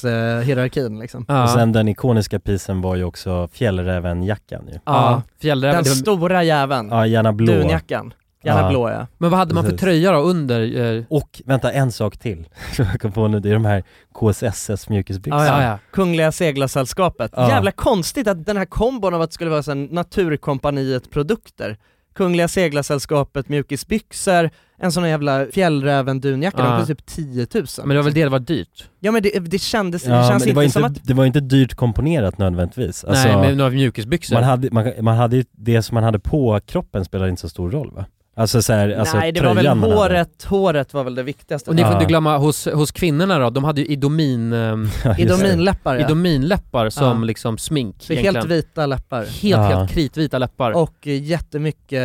Speaker 2: fjortis-hierarkin liksom.
Speaker 1: ja.
Speaker 3: Och sen den ikoniska pisen var ju också fjällrävenjackan ju.
Speaker 1: Ja, fjällräven.
Speaker 2: Den
Speaker 1: det var-
Speaker 2: stora jäveln,
Speaker 3: Ja, gärna blå.
Speaker 2: dunjackan. Gärna
Speaker 3: Ja.
Speaker 2: blå ja.
Speaker 1: Men vad hade man för
Speaker 3: Precis.
Speaker 1: tröja då under? Eh,
Speaker 3: Och vänta, en sak till. (laughs) som Jag kom på nu, det är de här KSSS mjukisbyxorna.
Speaker 2: Ja.
Speaker 1: ja, ja.
Speaker 2: Kungliga Seglarsällskapet.
Speaker 3: Ja.
Speaker 2: Jävla konstigt att den här kombon av att det skulle vara så här Naturkompaniet produkter, Kungliga Seglarsällskapet, mjukisbyxor, en sån här jävla fjällräven dunjacka,
Speaker 1: Ja.
Speaker 2: de kostar typ 10 000.
Speaker 1: Men det var väl det det var dyrt?
Speaker 2: Ja men det, det kändes,
Speaker 3: Ja,
Speaker 2: det
Speaker 3: men
Speaker 2: känns
Speaker 3: det,
Speaker 2: inte,
Speaker 3: var
Speaker 2: som
Speaker 3: inte,
Speaker 2: att...
Speaker 3: det var inte dyrt komponerat nödvändigtvis. Alltså,
Speaker 1: Nej, med några mjukisbyxor.
Speaker 3: man, hade, man, man hade ju det som man hade på kroppen spelade inte så stor roll va? Alltså så här, alltså
Speaker 2: Nej det var väl
Speaker 3: tröjan man hade.
Speaker 2: håret, håret var väl det viktigaste.
Speaker 1: Och ni får inte
Speaker 3: Ja.
Speaker 1: glömma, hos, hos kvinnorna då, de hade ju idomin, ehm,
Speaker 3: (laughs) Ja, just det.
Speaker 2: Idominläppar ja.
Speaker 1: idominläppar som
Speaker 2: Ja.
Speaker 1: liksom smink
Speaker 2: Så
Speaker 1: egentligen.
Speaker 2: helt vita läppar.
Speaker 1: Helt,
Speaker 3: Ja.
Speaker 1: helt kritvita läppar.
Speaker 2: Och eh, jättemycket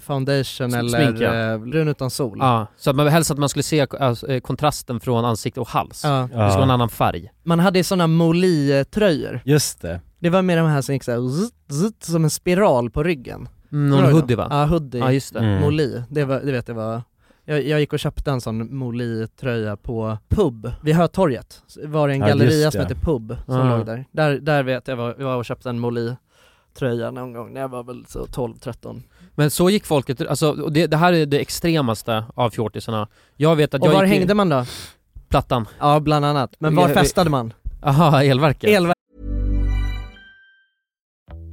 Speaker 2: foundation
Speaker 1: S-
Speaker 2: eller
Speaker 1: smink, ja.
Speaker 2: eh, brun utan sol.
Speaker 1: Ja, så att man, helst att man skulle se alltså, eh, kontrasten från ansikte och hals.
Speaker 2: Ja.
Speaker 1: Det skulle vara en
Speaker 3: Ja,
Speaker 1: annan färg.
Speaker 2: Man hade ju sådana Moli-tröjor.
Speaker 3: just det.
Speaker 2: Det var med de här som gick såhär zzzt, zzzt, som en spiral på ryggen.
Speaker 1: Mm, Någon
Speaker 2: Var det
Speaker 1: hoodie
Speaker 2: då?
Speaker 1: va?
Speaker 2: Ja, hoodie.
Speaker 1: Ja just det.
Speaker 3: Mm.
Speaker 2: Moli. Det, var, det vet jag var... Jag, jag gick och köpte en sån Moli-tröja på Pub vid Hötorget. Så Var det en
Speaker 3: Ja,
Speaker 2: galleria
Speaker 3: just
Speaker 2: som
Speaker 3: det.
Speaker 2: hette Pub som
Speaker 1: Ah.
Speaker 2: låg där. där. Där vet jag var, jag var och köpte en Moli-tröja någon gång när jag var väl så 12-13.
Speaker 1: Men så gick folket, alltså, och det, det här är det extremaste av fjortisarna. Jag vet att
Speaker 2: Och
Speaker 1: jag
Speaker 2: var
Speaker 1: gick i-
Speaker 2: hängde man då?
Speaker 1: Plattan.
Speaker 2: Ja, bland annat. Men var
Speaker 1: Ja,
Speaker 2: festade man?
Speaker 1: Aha, elverket.
Speaker 2: Elva.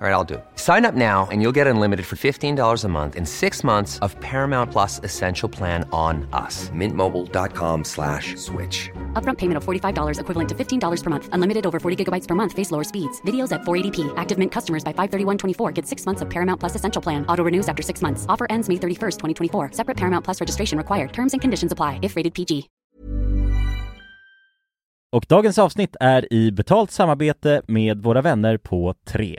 Speaker 4: All right, I'll do it. Sign up now and you'll get unlimited for $15 a month in six months of Paramount Plus Essential Plan on us. Mintmobile.com slash switch.
Speaker 5: Upfront payment of $45 equivalent to $15 per month. Unlimited over 40 gigabytes per month. Face lower speeds. Videos at 480p. Active Mint customers by 531.24 get six months of Paramount Plus Essential Plan. Auto renews after six months. Offer ends May 31st, 2024. Separate Paramount Plus registration required. Terms and conditions apply if rated PG.
Speaker 3: Och dagens avsnitt är i betalt samarbete med våra vänner på 3.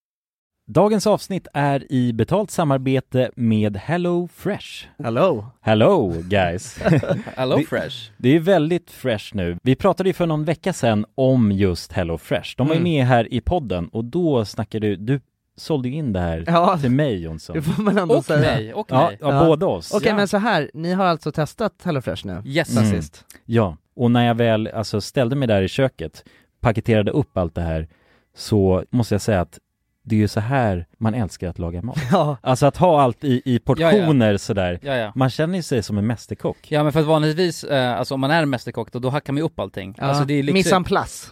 Speaker 3: Dagens avsnitt är i betalt samarbete med Hello Fresh.
Speaker 2: Hello!
Speaker 3: Hello guys!
Speaker 1: Hello Fresh.
Speaker 3: (laughs) Det är väldigt fresh nu. Vi pratade ju för någon vecka sedan om just Hello Fresh. De var
Speaker 2: Mm.
Speaker 3: ju med här i podden och då snackade du, du sålde ju in det här
Speaker 2: Ja.
Speaker 3: till mig Jonsson.
Speaker 2: Det får man ändå
Speaker 1: Och
Speaker 2: säga.
Speaker 1: mig, och
Speaker 3: Ja,
Speaker 1: mig.
Speaker 3: ja,
Speaker 2: Ja.
Speaker 3: båda oss.
Speaker 2: Okej, men så här, ni har alltså testat HelloFresh nu?
Speaker 1: Yes.
Speaker 3: Mm.
Speaker 2: Sist.
Speaker 3: Ja, och när jag väl alltså, ställde mig där i köket, paketerade upp allt det här, så måste jag säga att det är ju så här man älskar att
Speaker 2: (laughs)
Speaker 3: laga mat.
Speaker 6: Ja,
Speaker 3: Alltså att ha allt i, i portioner sådär.
Speaker 6: ja, ja.
Speaker 3: Man känner ju sig som en mästerkock.
Speaker 7: Ja men för att vanligtvis, eh, alltså om man är en mästerkock då, då hackar man ju upp allting. Alltså det är lyxigt.
Speaker 2: Mise en place.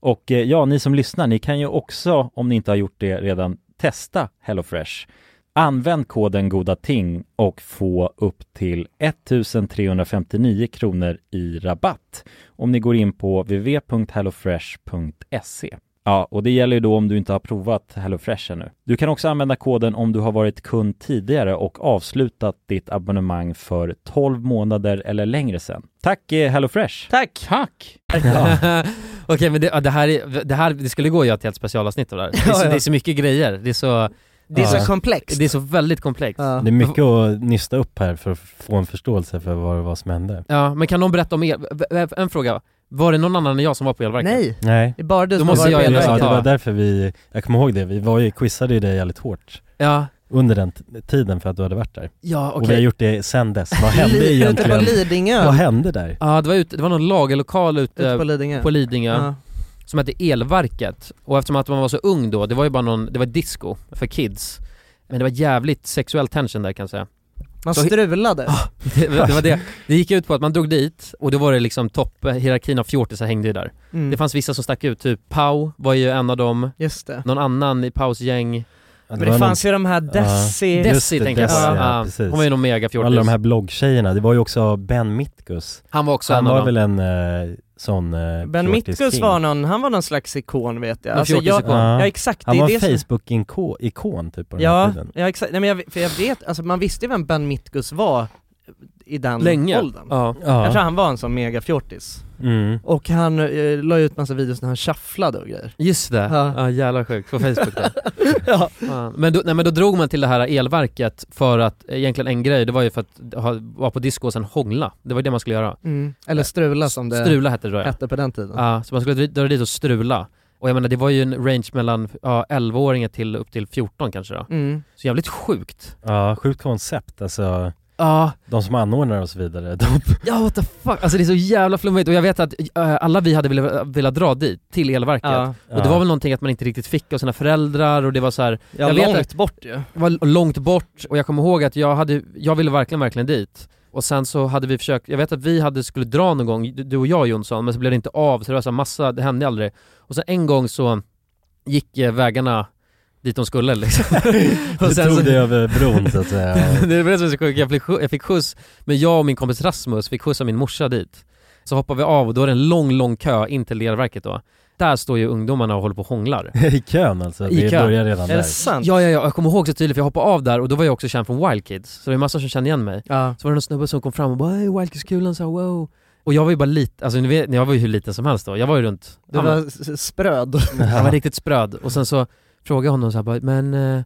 Speaker 3: Och eh, ja, ni som lyssnar, ni kan ju också, om ni inte har gjort det redan, testa HelloFresh. Använd koden goda ting och få upp till 1359 kronor i rabatt om ni går in på www.hellofresh.se. Ja, och det gäller ju då om du inte har provat HelloFresh ännu. Du kan också använda koden om du har varit kund tidigare och avslutat ditt abonnemang för 12 månader eller längre sedan. Tack eh, HelloFresh!
Speaker 7: Tack! Tack!
Speaker 1: Okej men det, ja, det, här är, det här, det skulle gå att göra ett helt specialavsnitt av det här. Det är, så,
Speaker 2: Ja, ja.
Speaker 1: det är så mycket grejer, det är så,
Speaker 2: Det är
Speaker 1: Ja.
Speaker 2: så komplext.
Speaker 1: det är så väldigt komplext. Ja.
Speaker 2: Ja.
Speaker 8: Det är mycket att nysta upp här för att få en förståelse för vad det var som hände.
Speaker 1: men kan någon berätta om er, v- v- en fråga, var det någon annan än jag som var på elverket?
Speaker 2: Nej,
Speaker 8: Nej.
Speaker 2: det är bara du
Speaker 1: Då
Speaker 2: som
Speaker 1: måste
Speaker 2: har
Speaker 1: jag
Speaker 2: varit med.
Speaker 1: gärna
Speaker 8: Ja, det
Speaker 1: ta-
Speaker 8: var därför vi, jag kommer ihåg det, vi var ju, quizade ju dig jävligt hårt
Speaker 1: Ja,
Speaker 8: under den t- tiden för att du hade varit där.
Speaker 1: ja okej.
Speaker 8: Och vi har gjort det sen dess. Vad hände
Speaker 2: Ute på
Speaker 8: egentligen?
Speaker 2: Lidingö.
Speaker 8: Vad hände där?
Speaker 1: Ja det var, ut, det var någon lagerlokal ute
Speaker 2: Ute
Speaker 7: Eh,
Speaker 2: på Lidingö.
Speaker 1: på Lidingö
Speaker 2: Ja.
Speaker 1: som hette Elverket. Och eftersom att man var så ung då, det var ju bara någon, det var disco för kids. Men det var jävligt sexuell tension där kan jag säga.
Speaker 2: Man
Speaker 1: Så-
Speaker 2: strulade.
Speaker 7: Ah,
Speaker 1: Det, det var det. Det gick ut på att man drog dit och då var det liksom topp, hierarkin av fjortisar hängde ju där.
Speaker 2: Mm.
Speaker 1: Det fanns vissa som stack ut, typ Pau var ju en av dem,
Speaker 2: Just det.
Speaker 1: någon annan i Paus gäng,
Speaker 8: Men
Speaker 2: Men det fanns ju de
Speaker 7: Ah.
Speaker 2: här Desi...
Speaker 8: Just
Speaker 1: Desi
Speaker 8: det,
Speaker 1: tänker jag på.
Speaker 8: Desi,
Speaker 1: Ja,
Speaker 8: ja,
Speaker 1: ja.
Speaker 8: precis.
Speaker 1: hon var ju någon megafjortis.
Speaker 8: Alla de här bloggtjejerna, det var ju också Ben Mitkus.
Speaker 1: Han var också
Speaker 8: Han
Speaker 1: en av
Speaker 8: var
Speaker 1: dem.
Speaker 8: väl en eh, sån eh,
Speaker 2: Ben
Speaker 8: fjortis
Speaker 2: Mitkus
Speaker 8: king.
Speaker 2: var någon, han var någon slags ikon vet jag.
Speaker 1: Någon
Speaker 2: Alltså, jag
Speaker 1: fjortisikon.
Speaker 2: ja exakt,
Speaker 8: Han
Speaker 2: det är
Speaker 8: var
Speaker 2: det som-
Speaker 8: Facebook-ikon typ på den här
Speaker 2: Ja,
Speaker 8: tiden.
Speaker 2: ja exakt. Nej, men jag, för jag vet, alltså man visste ju vem Ben Mitkus var i den
Speaker 1: Länge.
Speaker 2: åldern.
Speaker 1: Ja.
Speaker 2: Jag tror
Speaker 8: Ja.
Speaker 2: han var en sån megafjortis.
Speaker 8: Mm.
Speaker 2: Och han eh, la ut massa videos när han shufflade och grejer.
Speaker 1: Just det, ja.
Speaker 2: Ja.
Speaker 1: jävla sjukt, på Facebook där.
Speaker 2: Ja.
Speaker 1: Fan. Men, då, nej, men då drog man till det här elverket för att, egentligen en grej, det var ju för att ha, vara på disco och sen hångla. Det var det man skulle göra.
Speaker 2: Mm. Eller strula som det
Speaker 1: Strula hette det tror jag.
Speaker 2: hette på den tiden.
Speaker 1: Ja, så man skulle dra dit och strula. Och jag menar det var ju en range mellan ja, 11-åringar till upp till 14 kanske då.
Speaker 2: Mm.
Speaker 1: Så jävligt sjukt.
Speaker 8: Ja, sjukt koncept alltså.
Speaker 1: Ja,
Speaker 8: De som anordnar och så vidare, de
Speaker 1: ja what the fuck. Alltså det är så jävla flummigt och jag vet att eh, alla vi hade velat, velat dra dit, till elverket.
Speaker 2: Ja,
Speaker 1: Och det var väl någonting att man inte riktigt fick av sina föräldrar och det var så här, Jag vet
Speaker 2: långt bort ju.
Speaker 1: det var långt bort och jag kommer ihåg att jag, hade, jag ville verkligen, verkligen dit. Och sen så hade vi försökt, jag vet att vi hade skulle dra någon gång, du och jag Jonsson, men så blev det inte av så det var så här massa, det hände aldrig. Och sen en gång så gick eh, vägarna dit de skulle liksom. (laughs)
Speaker 8: Du
Speaker 1: och sen
Speaker 8: tog
Speaker 1: så,
Speaker 8: dig över bron så att säga.
Speaker 1: (laughs) det var det som är så sjukt, jag fick, skjuts, jag fick skjuts, men jag och min kompis Rasmus fick skjuts av min morsa dit. Så hoppar vi av och då är det en lång, lång kö in till elverket då. Där står ju ungdomarna och håller på och hånglar.
Speaker 8: I kön alltså,
Speaker 1: I
Speaker 8: det
Speaker 1: kön.
Speaker 8: börjar redan
Speaker 2: Är det
Speaker 8: där.
Speaker 2: sant?
Speaker 1: Ja, ja, ja, jag kommer ihåg så tydligt för jag hoppade av där och då var jag också känd från Wild Kids, så det är massor som känner igen mig.
Speaker 2: Ja.
Speaker 1: Så var det någon snubbe som kom fram och bara "Hey, Wild Kids-kulan” sa wow. Och jag var ju bara lite, alltså ni vet, jag var ju hur liten som helst då, jag var ju runt,
Speaker 2: Du
Speaker 1: ja,
Speaker 2: var
Speaker 1: men-
Speaker 2: s- s- spröd.
Speaker 1: jag var riktigt spröd. Och sen så frågade jag honom så här, bara, men eh,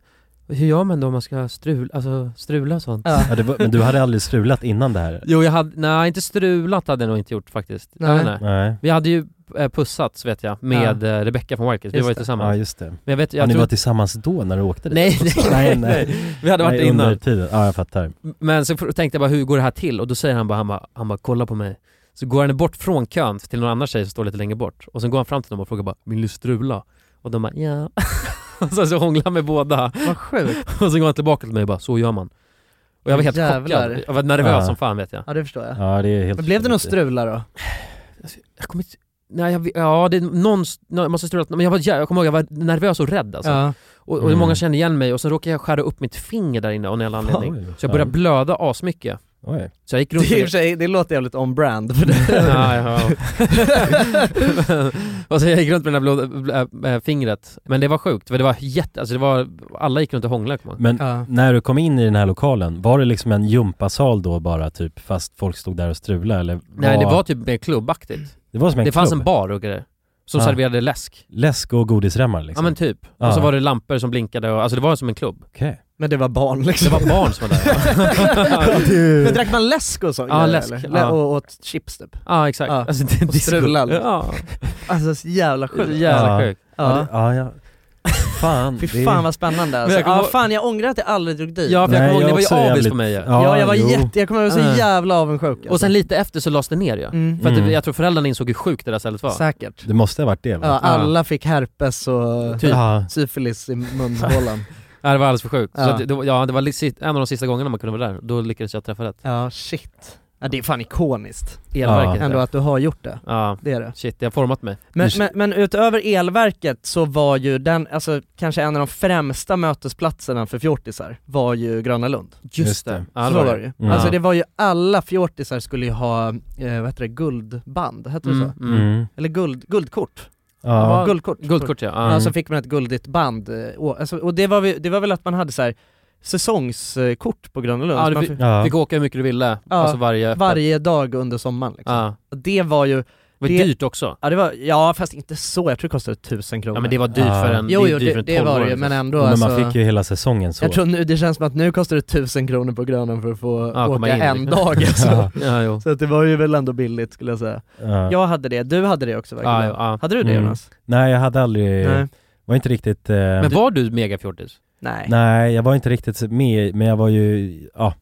Speaker 1: hur gör man då om man ska strula, alltså strula och sånt?
Speaker 2: Ja.
Speaker 8: (laughs) Ja, det var, men du hade aldrig strulat innan det här?
Speaker 1: Jo jag hade, nej inte strulat hade jag nog inte gjort faktiskt.
Speaker 2: Nej.
Speaker 1: Jag vet inte.
Speaker 8: Nej.
Speaker 1: Vi hade ju eh, pussats vet jag, med eh, Rebecca från Wild Kids, vi
Speaker 2: Just
Speaker 1: var ju
Speaker 2: det.
Speaker 1: tillsammans.
Speaker 8: Ja just det.
Speaker 1: Men jag vet,
Speaker 8: Ja,
Speaker 1: jag
Speaker 8: ni
Speaker 1: tror
Speaker 8: var tillsammans då när du åkte dit?
Speaker 1: (laughs) Nej, nej,
Speaker 8: (laughs)
Speaker 1: nej,
Speaker 8: Nej, nej.
Speaker 1: Vi hade varit
Speaker 8: Nej,
Speaker 1: det innan.
Speaker 8: under tiden. Ja jag fattar.
Speaker 1: Men så fr- tänkte jag bara, hur går det här till? Och då säger han bara, han bara, han bara kolla på mig. Så går han bort från kön till någon annan tjej som står lite längre bort. Och sen går han fram till dem och frågar bara, vill du strula? Och de bara, ja. (laughs) och sen så hånglar han med båda.
Speaker 2: Vad sjukt.
Speaker 1: Och sen går han tillbaka till mig och bara, så gör man. Och jag var helt
Speaker 2: Jävlar.
Speaker 1: chockad. Jag var nervös
Speaker 8: Ja.
Speaker 1: som fan vet jag.
Speaker 2: Ja det förstår jag.
Speaker 8: Ja det är helt
Speaker 2: Men blev det någon strula då?
Speaker 1: Jag kommer inte... Nej, jag, vet- ja, det är någon, jag måste strula, men jag, var, jä- jag kommer ihåg, jag var nervös och rädd alltså.
Speaker 2: Ja.
Speaker 1: Och, och
Speaker 8: Mm.
Speaker 1: många kände igen mig och sen råkade jag skära upp mitt finger där inne av någon jävla anledning.
Speaker 8: Oj,
Speaker 1: Så jag började
Speaker 8: fan.
Speaker 1: blöda asmycket.
Speaker 8: Oj.
Speaker 1: Så jag gick
Speaker 2: Det,
Speaker 1: runt
Speaker 2: är i och för sig, det låter jävligt on-brand för det.
Speaker 1: (laughs) ja,
Speaker 2: (laughs)
Speaker 1: ja. och så jag gick runt med det där blå, blå, äh, fingret. Men det var sjukt, för det var jätte, alltså det var, alla gick runt och hånglade kommer jag ihåg.
Speaker 8: Men
Speaker 2: Ja.
Speaker 8: när du kom in i den här lokalen, var det liksom en gympasal då bara typ fast folk stod där och strulade eller?
Speaker 1: Nej det var typ mer klubbaktigt.
Speaker 8: det var som en
Speaker 1: Det fanns
Speaker 8: klubb.
Speaker 1: en bar och grejer. Som
Speaker 3: Ja.
Speaker 1: serverade läsk.
Speaker 3: Läsk och godisremmar
Speaker 1: Ja
Speaker 3: liksom?
Speaker 1: men typ.
Speaker 3: Ja.
Speaker 1: Och så var det lampor som blinkade och, alltså det var som en klubb.
Speaker 3: Okej.
Speaker 2: Men det var barn
Speaker 1: Det
Speaker 2: liksom.
Speaker 1: var barn som var där.
Speaker 2: (laughs)
Speaker 1: ja.
Speaker 2: Men drack man läsk och sånt?
Speaker 1: Ja,
Speaker 2: grejer,
Speaker 1: läsk,
Speaker 2: eller?
Speaker 1: ja.
Speaker 2: Och åt chips typ.
Speaker 1: Ja exakt.
Speaker 2: Ja.
Speaker 1: Alltså, det,
Speaker 2: Och strular.
Speaker 1: Ja,
Speaker 2: Alltså så jävla
Speaker 1: det är så
Speaker 2: sjukt.
Speaker 1: jävla
Speaker 3: Ja.
Speaker 1: sjukt.
Speaker 3: Ja,
Speaker 2: Ja.
Speaker 3: det- ja, ja. Fan.
Speaker 2: (laughs) Fy
Speaker 3: det-
Speaker 2: fan vad spännande alltså.
Speaker 1: jag kommer
Speaker 2: Ja,
Speaker 1: ihåg-
Speaker 2: fan jag ångrar att jag aldrig drog dit.
Speaker 1: Ja för jag
Speaker 3: Nej,
Speaker 1: kommer ihåg,
Speaker 3: jag
Speaker 1: ni var
Speaker 3: också
Speaker 1: ju avis
Speaker 3: jävligt-
Speaker 1: på mig ju.
Speaker 2: Ja, jag var
Speaker 3: jo.
Speaker 2: jätte, jag kommer ihåg så
Speaker 1: Äh.
Speaker 2: jävla avundsjuk alltså.
Speaker 1: Och sen lite efter så lades det ner ju.
Speaker 2: mm.
Speaker 1: För att
Speaker 3: Mm.
Speaker 1: det, jag tror föräldrarna insåg hur sjukt det där stället var.
Speaker 2: Säkert.
Speaker 3: Det måste ha varit det va?
Speaker 2: Ja, alla fick herpes och
Speaker 1: Typ.
Speaker 3: Ja.
Speaker 2: syfilis i munhålan.
Speaker 1: Ja, det var alldeles för sjukt. Så
Speaker 2: Ja.
Speaker 1: att det, det var- ja, det var li- si- en av de sista gångerna man kunde vara där, då lyckades jag träffa rätt.
Speaker 2: (laughs) ja shit. Ja, det är fan ikoniskt
Speaker 1: Elverket.
Speaker 2: ändå
Speaker 1: Ja.
Speaker 2: att du har gjort det.
Speaker 1: ja,
Speaker 2: Det är det.
Speaker 1: shit det har format mig.
Speaker 2: Men,
Speaker 3: Du-
Speaker 2: men, men utöver elverket så var ju den, alltså kanske en av de främsta mötesplatserna för fjortisar var ju Gröna Lund.
Speaker 1: Just,
Speaker 3: Just det.
Speaker 1: det. Ja,
Speaker 2: så var det ju.
Speaker 3: Mm.
Speaker 2: Alltså
Speaker 1: Ja.
Speaker 2: det var ju alla fjortisar skulle ju ha, eh, vad heter det, guldband, hette det
Speaker 1: Mm,
Speaker 2: så?
Speaker 1: mm.
Speaker 3: Mm.
Speaker 2: Eller guld, guldkort?
Speaker 3: Ja.
Speaker 2: Guldkort.
Speaker 1: Guldkort Mm. ja. ja.
Speaker 2: Ja, så fick man ett guldigt band, eh, och, alltså, och det, var, vi- det var väl att man hade så här säsongskort på Gröna Lund,
Speaker 1: Ja,
Speaker 2: Så
Speaker 1: det
Speaker 2: man
Speaker 1: fi-
Speaker 2: fick-
Speaker 3: Ja.
Speaker 1: Mm. Fick åka hur mycket du ville,
Speaker 2: Ja,
Speaker 1: alltså varje öppet.
Speaker 2: varje dag under sommaren liksom.
Speaker 1: Ja.
Speaker 2: Och Det var ju,
Speaker 1: Det var
Speaker 2: Det-
Speaker 1: dyrt också.
Speaker 2: ja det var, ja fast inte så, jag tror det kostade tusen kronor.
Speaker 1: Ja men det var dyrt
Speaker 3: Ja.
Speaker 1: för en
Speaker 2: jo,
Speaker 1: det är
Speaker 2: jo
Speaker 1: dyrt
Speaker 2: det,
Speaker 1: för en
Speaker 2: det var det ju,
Speaker 1: 12-åring.
Speaker 2: men ändå
Speaker 3: men man
Speaker 2: alltså,
Speaker 3: fick ju hela säsongen så.
Speaker 2: Jag tror nu, det känns som att nu kostar det tusen kronor på Grönan för att få
Speaker 1: Ja, komma
Speaker 2: åka
Speaker 1: in,
Speaker 2: en
Speaker 1: liksom.
Speaker 3: (laughs)
Speaker 2: dag alltså.
Speaker 1: (laughs) Ja, jo.
Speaker 2: (laughs) Så att det var ju väl ändå billigt skulle jag säga.
Speaker 3: Ja.
Speaker 2: Jag hade det, du hade det också verkligen.
Speaker 1: Ja, ja, ja.
Speaker 2: Hade du det
Speaker 3: Mm.
Speaker 2: Jonas?
Speaker 3: Nej jag hade aldrig,
Speaker 2: Nej.
Speaker 3: var inte riktigt... Eh...
Speaker 1: Men var du megafjortis?
Speaker 2: Nej.
Speaker 3: Nej, jag var inte riktigt med, men jag var ju, ja,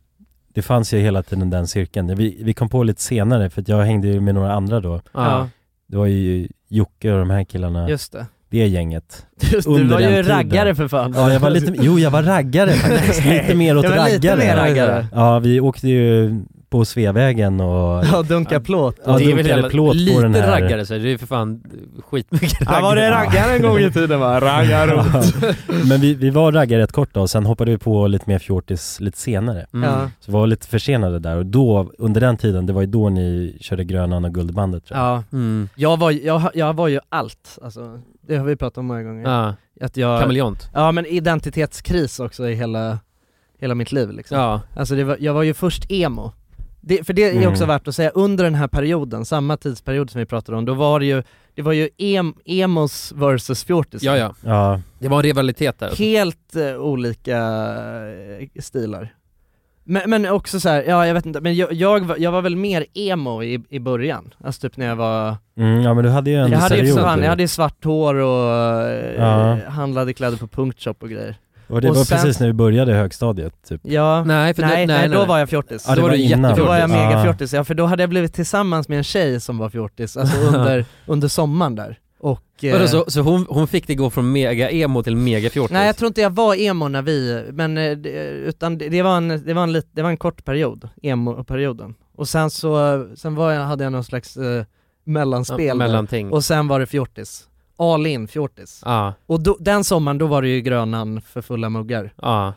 Speaker 3: det fanns ju hela tiden den cirkeln. Vi, vi kom på lite senare, för att jag hängde ju med några andra då.
Speaker 2: Ja,
Speaker 3: Det var ju Jocke och de här killarna,
Speaker 2: just det.
Speaker 3: det gänget.
Speaker 2: Just, du
Speaker 3: Under
Speaker 2: var ju
Speaker 3: den tiden.
Speaker 2: raggare för fan.
Speaker 3: Ja, jag var lite, jo jag var raggare faktiskt, lite mer åt
Speaker 2: Jag var
Speaker 3: raggare.
Speaker 2: lite mer raggare.
Speaker 3: Ja, vi åkte ju på Sveavägen och
Speaker 2: Ja, dunka plåt.
Speaker 1: Det
Speaker 3: ja,
Speaker 1: är väl
Speaker 3: dunkade
Speaker 1: jävla-
Speaker 3: plåt på
Speaker 1: Lite
Speaker 3: den här.
Speaker 1: raggare så det är ju för fan skitmycket raggare.
Speaker 2: Ja, var det (laughs) raggare en gång (laughs) i tiden va? Raggare.
Speaker 3: Ja. (laughs) Men vi, vi var raggare rätt kort då, och sen hoppade vi på lite mer fjortis lite senare.
Speaker 1: Mm.
Speaker 2: Ja.
Speaker 3: Så vi var lite försenade där och då, under den tiden, det var ju då ni körde Grönan och Guldbandet tror jag.
Speaker 2: Ja,
Speaker 1: Mm.
Speaker 2: jag var, jag, jag var ju allt. Alltså, det har vi pratat om många gånger.
Speaker 1: Ja.
Speaker 2: Att jag,
Speaker 1: Kameleont.
Speaker 2: Ja men identitetskris också i hela, hela mitt liv liksom.
Speaker 1: Ja.
Speaker 2: Alltså det var, jag var ju först emo. Det, för det är också
Speaker 3: Mm.
Speaker 2: värt att säga, under den här perioden, samma tidsperiod som vi pratade om, då var det ju, det var ju em, emos versus fjortis.
Speaker 1: ja, ja.
Speaker 3: Ja,
Speaker 1: Det var en rivalitet där.
Speaker 2: Helt eh, olika eh, stilar. Men, men också så här, ja jag vet inte, men jag, jag, var, jag var väl mer emo i, i början. Alltså typ när jag var,
Speaker 3: mm, ja men du hade ju en
Speaker 2: jag hade, ju,
Speaker 3: seriös
Speaker 2: för fan,
Speaker 3: period.
Speaker 2: jag hade ju svart hår och eh,
Speaker 3: Ja.
Speaker 2: handlade kläder på punktshop och grejer.
Speaker 3: Och det
Speaker 2: och
Speaker 3: var
Speaker 2: sen-
Speaker 3: precis när vi började högstadiet typ.
Speaker 2: Ja,
Speaker 1: Nej, för
Speaker 2: nej, nej, då var jag fjortis.
Speaker 3: Ja,
Speaker 1: Då var du jättefjortis.
Speaker 2: Då var jag
Speaker 3: Ja.
Speaker 2: mega fjortis, ja för då hade jag blivit tillsammans med en tjej som var fjortis, alltså under, under sommaren där. Och, eh,
Speaker 1: Vadå, så, så hon, hon fick det gå från mega-emo till mega-fjortis?
Speaker 2: nej jag tror inte jag var emo när vi, men eh, det- utan det, det, var en, det, var en lit, det var en kort period, emo-perioden. Och sen så, sen var jag, hade jag någon slags eh, mellanspel
Speaker 1: Ja,
Speaker 2: där.
Speaker 1: mellanting.
Speaker 2: och sen var det fjortis. All in fjortis.
Speaker 1: Ja,
Speaker 2: Och då, den sommaren då var det ju Grönan för fulla muggar.
Speaker 1: ja,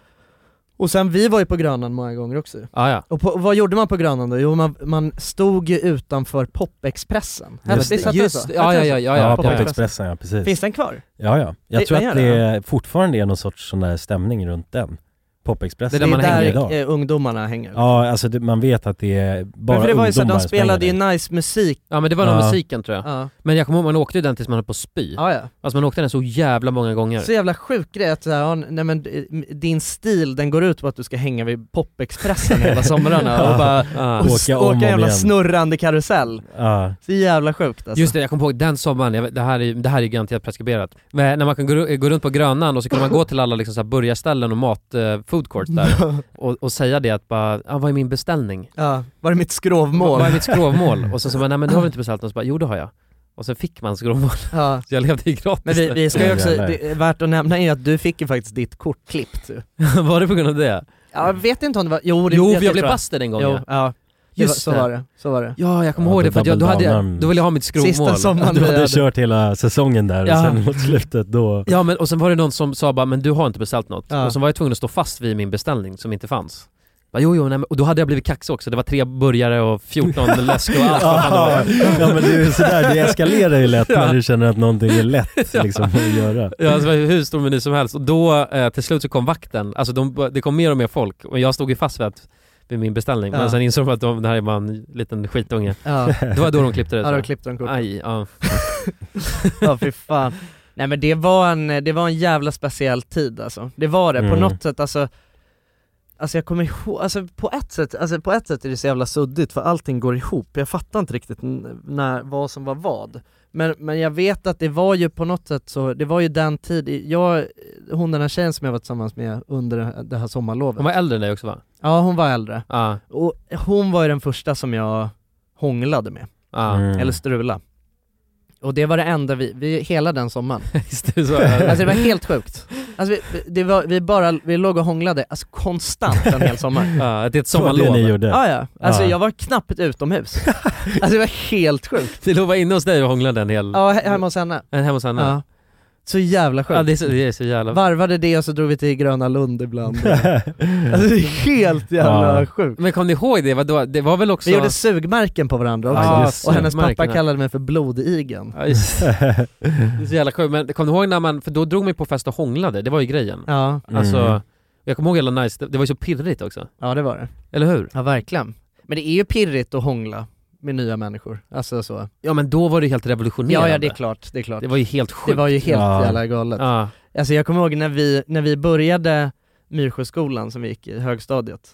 Speaker 2: Och sen vi var ju på Grönan många gånger också
Speaker 1: ja, ja.
Speaker 2: Och på, och vad gjorde man på Grönan då? Jo man, man stod ju utanför Popexpressen. Hette-
Speaker 3: Just det.
Speaker 2: visst hette det så?
Speaker 1: Just det, ja, ja, ja, ja, ja,
Speaker 2: Pop-
Speaker 1: ja, ja.
Speaker 3: Popexpressen ja, precis.
Speaker 2: Finns den kvar?
Speaker 3: Ja, ja. Jag
Speaker 2: Det-
Speaker 3: tror
Speaker 2: den
Speaker 3: att
Speaker 2: gör
Speaker 3: det
Speaker 2: det,
Speaker 3: fortfarande är någon sorts sån där stämning runt den. Popexpressen.
Speaker 1: Det är där man
Speaker 2: det är
Speaker 1: hänger
Speaker 2: där
Speaker 3: idag.
Speaker 2: eh, ungdomarna hänger.
Speaker 3: Ja, alltså det, man vet att det är bara
Speaker 2: Men för det var ju så, här,
Speaker 3: ungdomar
Speaker 2: de
Speaker 3: som
Speaker 2: spelade ju
Speaker 3: hänger där.
Speaker 2: nice musik.
Speaker 1: Ja men det var nog
Speaker 3: Ja.
Speaker 1: musiken tror jag.
Speaker 2: Ja.
Speaker 1: Men jag kommer ihåg man åkte ju den tills man höll på att spy.
Speaker 2: Ja, ja.
Speaker 1: Alltså man åkte den så jävla många gånger.
Speaker 2: Så jävla sjuk grej att så här, ja, nej, men, eh, din stil den går ut på att du ska hänga vid Popexpressen hela somrarna och bara
Speaker 1: Ja.
Speaker 2: och
Speaker 3: Åka
Speaker 2: s- åka,
Speaker 3: om och om
Speaker 2: jävla
Speaker 3: igen.
Speaker 2: snurrande karusell.
Speaker 3: Ja,
Speaker 2: Så jävla sjukt alltså.
Speaker 1: Just det, jag kommer ihåg den sommaren, jag vet- det här är, det här är garanterat preskriberat. Men när man kan gå, ru- gå runt på Grönan och så kan man gå till alla liksom så här burgarställen och mat, eh, food courts där och, och säga det att bara, ah, vad är min beställning?
Speaker 2: (laughs) Ja, var det mitt skrovmål?
Speaker 1: Vad är mitt skrovmål? Och så sa man, nej men du har väl inte beställt något? Så bara, jo det har jag. Och så fick man skrovmål,
Speaker 2: Ja.
Speaker 1: så jag levde ju gratis.
Speaker 2: Men vi, vi ska ju också,
Speaker 3: Jävlar.
Speaker 2: det, är värt att nämna är ju att du fick ju faktiskt ditt kort klippt ju.
Speaker 1: (laughs) var det på grund av det?
Speaker 2: Ja, Jag vet inte om det var, jo det
Speaker 1: jo,
Speaker 2: det
Speaker 1: för jag blev
Speaker 2: tror
Speaker 1: busted en gång
Speaker 2: Jo,
Speaker 1: ja.
Speaker 2: ja. Det var,
Speaker 1: Just
Speaker 2: så
Speaker 1: det.
Speaker 2: var det, så var det.
Speaker 1: Ja, jag kommer
Speaker 3: Ja,
Speaker 1: ihåg
Speaker 3: det
Speaker 1: det för att jag, då,
Speaker 3: double
Speaker 1: hade jag,
Speaker 3: down.
Speaker 1: då ville jag ha mitt skrovmål.
Speaker 2: Sista sommaren
Speaker 3: du
Speaker 2: vi
Speaker 3: hade
Speaker 2: hade-
Speaker 3: kört hela säsongen där
Speaker 1: Ja.
Speaker 3: och sen mot slutet då...
Speaker 1: Ja men och sen var det någon som sa bara, men du har inte beställt något.
Speaker 2: Ja.
Speaker 1: Och så var jag tvungen att stå fast vid min beställning som inte fanns. Bara, jo, jo, nej, men, och då hade jag blivit kaxig också, det var tre burgare och
Speaker 3: (laughs)
Speaker 1: 14 läsk och allt vad fan det
Speaker 3: Ja,
Speaker 1: var.
Speaker 3: men det är
Speaker 1: (laughs)
Speaker 3: ju sådär, det eskalerar
Speaker 2: (laughs)
Speaker 3: ju lätt när du känner att någonting är lätt liksom, att göra.
Speaker 1: Ja, alltså, det var hur stor meny som helst. Och då eh, till slut så kom vakten, alltså de, det kom mer och mer folk och jag stod ju fast vid att vid min beställning. Men
Speaker 2: Ja.
Speaker 1: sen insåg de att de, det här är bara en liten skitunge.
Speaker 2: Ja.
Speaker 1: Det var då de klippte det
Speaker 2: (laughs) Ja,
Speaker 1: tror
Speaker 2: då
Speaker 1: jag.
Speaker 2: klippte de kortet.
Speaker 1: Aj, ja.
Speaker 2: Ja fy fan. Nej men det var en, det var en jävla speciell tid alltså. Det var det, på
Speaker 1: Mm.
Speaker 2: något sätt alltså Alltså jag kommer ihåg, alltså på ett sätt, alltså på ett sätt är det så jävla suddigt för allting går ihop, jag fattar inte riktigt n- när, vad som var vad. Men, men jag vet att det var ju på något sätt så, det var ju den tid, jag, hon den här tjejen som jag var tillsammans med under det- det här sommarlovet.
Speaker 1: Hon var äldre än dig också va?
Speaker 2: Ja hon var äldre.
Speaker 1: Ja.
Speaker 2: Och hon var ju den första som jag hånglade med.
Speaker 1: Ja. (laughs)
Speaker 3: Mm.
Speaker 2: Eller strula. Och det var det enda vi, vi hela
Speaker 1: (laughs)
Speaker 2: den sommaren.
Speaker 1: Visst är
Speaker 2: (laughs)
Speaker 1: det så?
Speaker 2: Alltså det var helt sjukt. Alltså vi, det var, vi bara, vi låg och hånglade, alltså konstant en hel sommar.
Speaker 1: (laughs) Ja, det är ett
Speaker 3: Så det
Speaker 1: sommarlov.
Speaker 3: ni gjorde?
Speaker 2: Ja, ja. Alltså
Speaker 3: Ja.
Speaker 2: jag var
Speaker 1: (laughs)
Speaker 2: knappt utomhus. Alltså det var helt sjukt.
Speaker 1: Det låg bara inne hos dig och hånglade en hel...
Speaker 2: Ja, he- hemma hos henne.
Speaker 1: En hemma hos henne.
Speaker 2: Ja. Så jävla sjukt.
Speaker 1: Ja, det, är så, det är så jävla...
Speaker 2: Varvade det och så drog vi till Gröna
Speaker 1: (laughs)
Speaker 2: Lund ibland. Alltså det är helt jävla
Speaker 3: Ja.
Speaker 2: sjukt.
Speaker 1: Men kom ni ihåg det? Vadå? Det var väl också...
Speaker 2: Vi gjorde sugmärken på varandra också.
Speaker 1: Ja,
Speaker 3: just det.
Speaker 2: och hennes pappa
Speaker 1: Sugmärkena.
Speaker 2: kallade mig för blodigen.
Speaker 1: Ja, just det. Det är så jävla sjukt. Men kom ni ihåg när man... För då drog man ju på fest och hånglade, det var ju grejen.
Speaker 2: Ja, Mm.
Speaker 1: Alltså, jag kommer ihåg hela nice, det, det var ju så pirrigt också.
Speaker 2: ja det var det.
Speaker 1: Eller hur?
Speaker 2: Ja verkligen. Men det är ju pirrigt att hångla med nya människor, alltså så.
Speaker 1: Ja men då var det ju helt revolutionerande.
Speaker 2: Ja ja det är klart, det är klart.
Speaker 1: Det var ju helt sjukt.
Speaker 2: Det var ju helt
Speaker 3: Ja.
Speaker 2: jävla galet.
Speaker 1: Ja.
Speaker 2: Alltså jag kommer ihåg när vi, när vi började Myrsjöskolan som vi gick i högstadiet.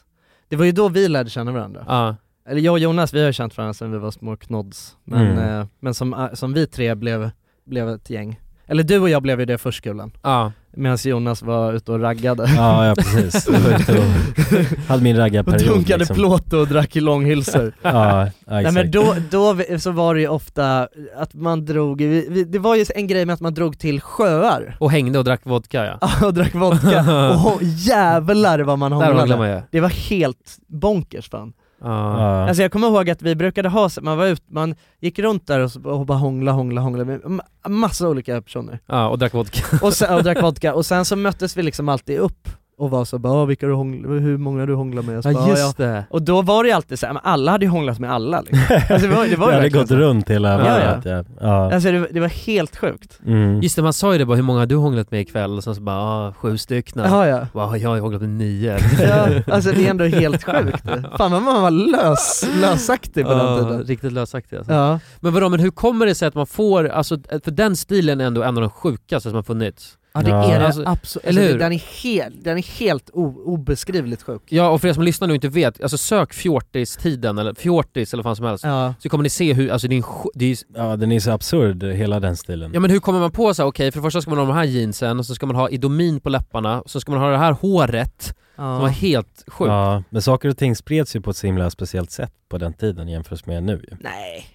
Speaker 2: Det var ju då vi lärde känna varandra.
Speaker 1: Ja.
Speaker 2: Eller jag och Jonas, vi har ju känt varandra sedan vi var små knodds. Men,
Speaker 3: Mm.
Speaker 2: eh, men som, eh, som vi tre blev, blev ett gäng. Eller du och jag blev ju det i förskolan,
Speaker 1: Ja.
Speaker 2: medan Jonas var ute och
Speaker 3: (laughs)
Speaker 2: raggade.
Speaker 3: (laughs) Ja, ja
Speaker 2: (laughs)
Speaker 3: precis. Sjukt och- Hade min
Speaker 2: Och
Speaker 3: raggarperiod liksom.
Speaker 2: dunkade plåt och drack i långhylsor.
Speaker 3: Ja, ja
Speaker 2: Nej
Speaker 3: exakt.
Speaker 2: men då, då vi- så var det ju ofta att man drog, vi, vi, det var ju en grej med att man drog till sjöar (laughs)
Speaker 1: Och hängde och drack vodka ja.
Speaker 2: och
Speaker 1: (laughs)
Speaker 2: drack vodka och hå- jävlar vad man
Speaker 1: Där hånglade
Speaker 2: hånglade.
Speaker 1: man ju.
Speaker 2: Det var helt bonkers fan.
Speaker 1: Ja.
Speaker 3: ja.
Speaker 2: Alltså jag kommer ihåg att vi brukade ha, så- man var ut, man gick runt där och, så, och bara hångla, hångla, hångla med ma- massa olika personer.
Speaker 1: ja, och drack vodka.
Speaker 2: Och, sen, och drack vodka och sen så möttes vi liksom alltid upp och var så bara "Ah, vilka du hånglar, hur många du hånglar med? Och så bara, "Ah, ja."
Speaker 1: det.
Speaker 2: Och då var det ju alltid såhär, men alla hade ju hånglat med alla
Speaker 3: (laughs)
Speaker 2: liksom. Alltså det var, det var ju
Speaker 3: jag hade
Speaker 2: verkligen
Speaker 3: gått runt hela
Speaker 1: Ja, Äh,
Speaker 3: varvet ja. ja.
Speaker 2: Alltså det, det var helt sjukt.
Speaker 3: Mm.
Speaker 1: Just det, man sa ju det bara, hur många har du hånglat med ikväll? Och sen så bara, ah, sju stycken.
Speaker 2: Ja, ja.
Speaker 1: Wow, jag har ju hånglat med nio. (laughs)
Speaker 2: ja. Alltså det är ändå helt sjukt. Fan vad man var lös, lösaktig på
Speaker 1: Ja,
Speaker 2: den tiden.
Speaker 1: Riktigt lösaktig alltså.
Speaker 2: Ja.
Speaker 1: Men vadå, men hur kommer det sig att man får, alltså, för den stilen är ändå en av de sjukaste som har funnits.
Speaker 2: Ja det
Speaker 3: Ja.
Speaker 2: är det
Speaker 1: Alltså,
Speaker 2: absolut,
Speaker 1: eller hur?
Speaker 2: Den, är helt, den är helt o- obeskrivligt sjuk.
Speaker 1: Ja, och för er som lyssnar nu och inte vet, alltså sök fjortis-tiden, eller fjortis eller vad fan som helst.
Speaker 2: Ja.
Speaker 1: Så kommer ni se hur, alltså det är en sj- det är,
Speaker 3: ja, den är så absurd hela den stilen.
Speaker 1: Ja men hur kommer man på så här, okej för det första ska man ha de här jeansen, och så ska man ha idomin på läpparna, och så ska man ha det här håret, som var
Speaker 2: Ja.
Speaker 1: helt sjukt.
Speaker 3: Ja, men saker och ting spreds ju på ett så himla speciellt sätt på den tiden jämfört med nu ju.
Speaker 2: Nej,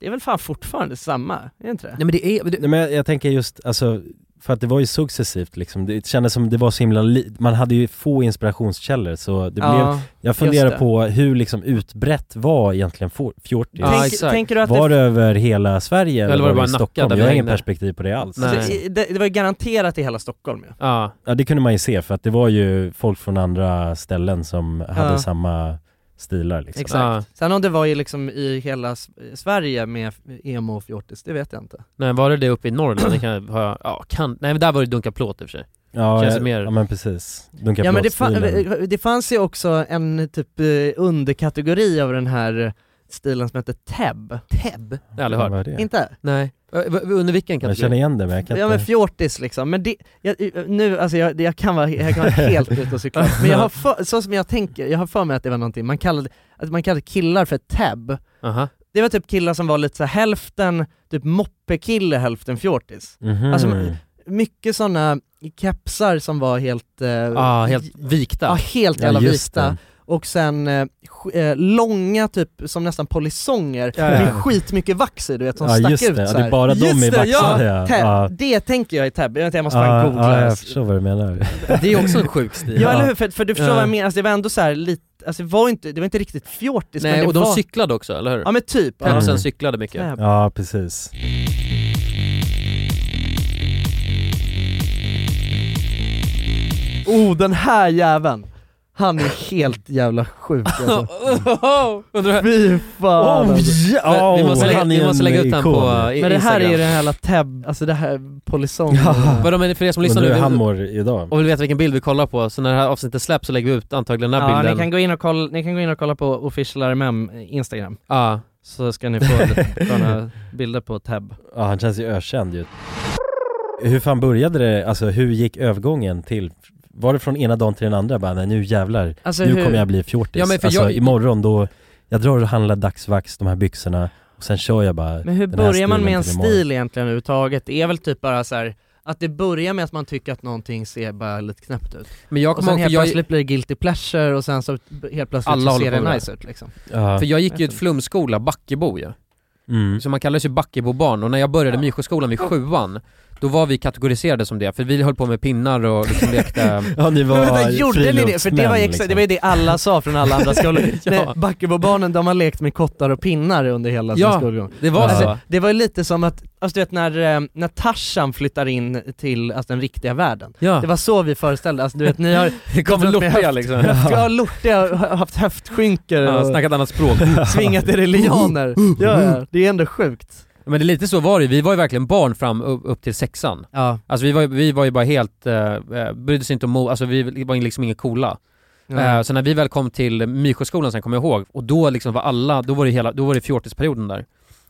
Speaker 2: det är väl fan fortfarande samma, är det inte det?
Speaker 1: Nej men det är, det,
Speaker 3: Nej, men jag, jag tänker just, alltså, för att det var ju successivt liksom. Det kändes som det var så himla, li- man hade ju få inspirationskällor så det blev,
Speaker 2: ja.
Speaker 3: jag funderar
Speaker 2: det.
Speaker 3: på hur liksom utbrett var egentligen for- fjortis?
Speaker 1: Ja,
Speaker 2: Tänk,
Speaker 1: exakt.
Speaker 2: tänker du att
Speaker 3: Var
Speaker 2: det,
Speaker 3: det över hela Sverige eller, var det bara i
Speaker 1: Nacka
Speaker 3: Stockholm?
Speaker 1: där vi
Speaker 3: Jag har ingen
Speaker 1: hängde?
Speaker 3: perspektiv på det alls.
Speaker 1: Nej.
Speaker 2: alltså, i- det, det var ju garanterat i hela Stockholm ju.
Speaker 1: ja.
Speaker 3: Ja det kunde man ju se för att det var ju folk från andra ställen som hade samma stilar liksom.
Speaker 2: Exakt. Sen om det var ju liksom i hela S- Sverige med emo och fjortis, det vet jag inte.
Speaker 1: Nej var det det uppe i Norrland? Det kan, har jag, ja, kan, nej men där var det dunka plåt i och för sig.
Speaker 3: Ja,
Speaker 1: Känns
Speaker 3: ja,
Speaker 1: mer-
Speaker 3: ja men precis. Dunka
Speaker 2: Ja men det, eh,
Speaker 3: plåtstilen.
Speaker 2: fa- det fanns ju också en typ eh, underkategori av den här stilen som hette Teb. Teb?
Speaker 1: Det har jag aldrig hört.
Speaker 3: Vad var det?
Speaker 2: Inte?
Speaker 1: Nej. Ö, v- Under vilken
Speaker 3: Jag känner
Speaker 1: kategori?
Speaker 3: igen det men jag kan
Speaker 2: Ja men
Speaker 3: inte...
Speaker 2: fjortis liksom, men det, jag, nu alltså jag, jag kan vara, jag kan
Speaker 3: (laughs)
Speaker 2: vara helt ute och cykla, men jag har för, så som jag tänker, jag har för mig att det var någonting, man kallade, att man kallade killar för tab.
Speaker 1: Aha.
Speaker 2: Det var typ killar som var lite så här, hälften typ moppekille, hälften fjortis.
Speaker 3: Mhm.
Speaker 2: alltså, Mycket sådana kepsar som var helt, eh,
Speaker 1: Ja, helt
Speaker 2: ja,
Speaker 1: vikta.
Speaker 2: helt
Speaker 3: Ah, Ja,
Speaker 2: jävla
Speaker 3: just
Speaker 2: vita,
Speaker 3: det.
Speaker 2: och sen eh, sk- eh, långa typ som nästan polisonger,
Speaker 3: Ja, ja.
Speaker 2: med skitmycket vax i du vet, som
Speaker 3: Ja
Speaker 2: stack
Speaker 3: just
Speaker 2: ut
Speaker 3: det, ja,
Speaker 2: så
Speaker 3: det
Speaker 2: här.
Speaker 3: är bara de
Speaker 2: Just
Speaker 3: i
Speaker 2: det,
Speaker 3: Vaxholm
Speaker 2: ja! Tab. Det tänker jag i tab, jag, vet inte, jag måste fan
Speaker 3: Ja,
Speaker 2: googla
Speaker 3: ja,
Speaker 2: det.
Speaker 3: jag förstår vad du menar.
Speaker 1: Det är också en sjuk stil.
Speaker 2: Ja eller hur, för, för du förstår
Speaker 1: Ja.
Speaker 2: vad jag menar, alltså, det var ändå så här lite, alltså det var inte, det var inte riktigt fjortis men
Speaker 1: Nej
Speaker 2: det
Speaker 1: och de
Speaker 2: var...
Speaker 1: cyklade också, eller hur?
Speaker 2: Ja men typ. Ja.
Speaker 1: Pepsen
Speaker 3: Mm.
Speaker 1: cyklade mycket.
Speaker 3: Ja precis.
Speaker 2: Oh den här jäveln! Han är helt jävla sjuk
Speaker 1: (laughs)
Speaker 3: (laughs)
Speaker 2: alltså.
Speaker 1: Undrar-
Speaker 2: Fy fan
Speaker 1: Oh,
Speaker 2: alltså.
Speaker 1: ja, Men vi måste lägga- han är vi måste lägga en ut den på, ikon. eh,
Speaker 2: Men det här är ju
Speaker 1: Instagram.
Speaker 2: den här jävla tab, alltså det
Speaker 3: (laughs)
Speaker 2: här polisong
Speaker 1: Vadå men för er som lyssnar
Speaker 3: Undrar
Speaker 1: nu
Speaker 3: hur han
Speaker 1: vill-
Speaker 3: mår idag.
Speaker 1: och vill veta vilken bild vi kollar på, så när det här avsnittet släpps så lägger vi ut antagligen den här
Speaker 2: Ja, ni
Speaker 1: bilden
Speaker 2: kan, gå in och kolla, ni kan gå in och kolla på official RMM Instagram,
Speaker 1: Ja,
Speaker 2: så ska
Speaker 1: (laughs)
Speaker 2: ni få lite sköna bilder på tab.
Speaker 3: (laughs) Ja, han känns ju ökänd ju. Hur fan började det, alltså hur gick övergången till, var det från ena dagen till den andra bara, nej nu jävlar,
Speaker 2: Alltså,
Speaker 3: nu
Speaker 2: hur-
Speaker 3: kommer jag bli fjortis.
Speaker 1: Ja, men för
Speaker 3: alltså
Speaker 1: jag-
Speaker 3: imorgon då, jag drar och handlar dagsvax, de här byxorna, och sen kör jag bara
Speaker 2: Men hur
Speaker 3: den här
Speaker 2: börjar man med en
Speaker 3: stilen till
Speaker 2: stil egentligen överhuvudtaget? Det är väl typ bara så här att det börjar med att man tycker att någonting ser bara lite knäppt ut.
Speaker 1: men jag
Speaker 2: Och
Speaker 1: kommer ihåg,
Speaker 2: sen
Speaker 1: för
Speaker 2: helt
Speaker 1: jag,
Speaker 2: plötsligt blir det guilty pleasure och sen så helt plötsligt
Speaker 1: Alla
Speaker 2: så
Speaker 1: håller
Speaker 2: ser
Speaker 1: på
Speaker 2: det
Speaker 1: med
Speaker 2: nice ut liksom.
Speaker 3: Ja.
Speaker 1: för jag gick ju i ett flumskola, Backebo ju,
Speaker 3: Mm.
Speaker 1: så man kallas ju Backebobarn och när jag började Myrsjöskolan vid sjuan, då var vi kategoriserade som det, för vi höll på med pinnar och liksom lekte
Speaker 3: Ja ni var
Speaker 2: Men vänta, gjorde ni det? För det var,
Speaker 3: friluftsmän,
Speaker 2: exa- det var ju det alla sa från alla
Speaker 1: (laughs)
Speaker 2: andra skolor.
Speaker 1: liksom. Ja.
Speaker 2: ja. Backebobarnen de har lekt med kottar och pinnar under hela
Speaker 1: Ja.
Speaker 2: sin skolgång.
Speaker 1: (laughs) Det var alltså,
Speaker 3: Ja.
Speaker 1: så?
Speaker 2: Det var ju lite som att, alltså du vet när, eh, när Tarzan flyttar in till alltså, den riktiga världen.
Speaker 1: Ja,
Speaker 2: Det var så vi föreställde alltså du vet
Speaker 1: (laughs)
Speaker 2: ni har
Speaker 1: det kom
Speaker 2: med
Speaker 1: loppiga (laughs)
Speaker 2: höft-
Speaker 1: liksom
Speaker 2: höft, ja, lortiga, har haft höftskinkor
Speaker 1: Ja,
Speaker 2: (laughs) och
Speaker 1: snackat annat språk. (laughs)
Speaker 2: svingat er i lianer. Ja, ja, det är ändå sjukt.
Speaker 1: Men det är lite så var det vi var ju verkligen barn fram upp, upp till sexan.
Speaker 2: Ja.
Speaker 1: Alltså vi var, ju- vi var ju bara helt, eh, eh, brydde sig inte om, mo- alltså vi var ju liksom inga coola. Eh, så när vi väl kom till Mysjöskolan sen kommer jag ihåg, och då liksom var alla, då var det hela, då var det fjortisperioden där.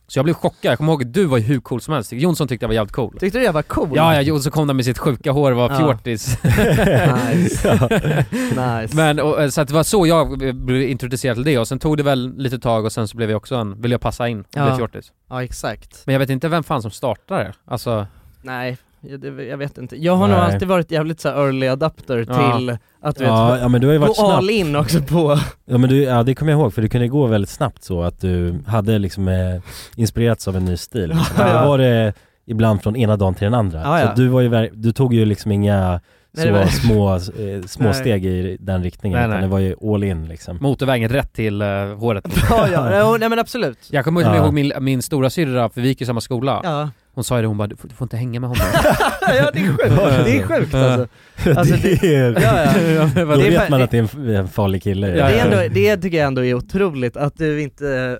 Speaker 1: Så jag blev chockad, jag kommer ihåg du var ju hur cool som helst, Jonsson tyckte jag var jävligt cool.
Speaker 2: Tyckte du jag var cool?
Speaker 1: Ja, ja, Jonsson kom där med sitt sjuka hår och var
Speaker 2: Ja.
Speaker 1: fjortis. (laughs)
Speaker 2: (laughs)
Speaker 3: liksom.
Speaker 2: Nice. nice.
Speaker 1: Men och, eh, så att det var så jag eh, blev introducerad till det och sen tog det väl lite tag och sen så blev jag också en, ville jag passa in och
Speaker 2: Ja.
Speaker 1: blev fjortis.
Speaker 2: Ja exakt.
Speaker 1: Men jag vet inte vem fan som startade det. Alltså,
Speaker 2: Nej, jag, det, jag vet inte. Jag har nog
Speaker 3: Nej.
Speaker 2: alltid varit jävligt så här early adapter
Speaker 1: Ja.
Speaker 2: till att du
Speaker 3: Ja,
Speaker 2: vet,
Speaker 3: ja men du har ju
Speaker 2: gå
Speaker 3: varit snabb
Speaker 2: all in också
Speaker 1: (laughs)
Speaker 2: på...
Speaker 3: Ja men du, ja, det kommer jag ihåg för du kunde gå väldigt snabbt så att du hade liksom eh, inspirerats av en ny stil. Liksom.
Speaker 2: Ja.
Speaker 3: Det var det ibland från ena dagen till den andra.
Speaker 2: Ja, ja.
Speaker 3: Så du, var ju, ver- du tog ju liksom inga
Speaker 2: Nej,
Speaker 3: så
Speaker 2: det var-
Speaker 3: små, eh, små
Speaker 2: Nej.
Speaker 3: steg i den riktningen
Speaker 1: Nej,
Speaker 3: utan
Speaker 1: nej.
Speaker 3: det var ju all in liksom.
Speaker 1: motorvägen rätt till eh, håret.
Speaker 2: Ja, ja, jo, nej men absolut.
Speaker 1: Jag kommer
Speaker 3: Ja.
Speaker 1: ihåg min, min stora syrra, för vi gick i samma skola.
Speaker 2: Ja.
Speaker 1: Hon sa ju det, hon bara du får, du får inte hänga med honom. (laughs)
Speaker 2: ja, det är sjukt, det är sjukt alltså.
Speaker 3: (laughs)
Speaker 2: Alltså,
Speaker 3: det är,
Speaker 2: Ja, ja.
Speaker 3: Då
Speaker 2: Det är
Speaker 3: vet
Speaker 2: fa-
Speaker 3: man att det är en, en farlig kille.
Speaker 1: Ja,
Speaker 2: Det,
Speaker 1: ja.
Speaker 2: är ändå, det tycker jag ändå är otroligt att du inte...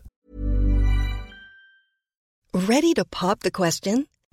Speaker 9: Ready to pop the question?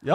Speaker 3: Ja,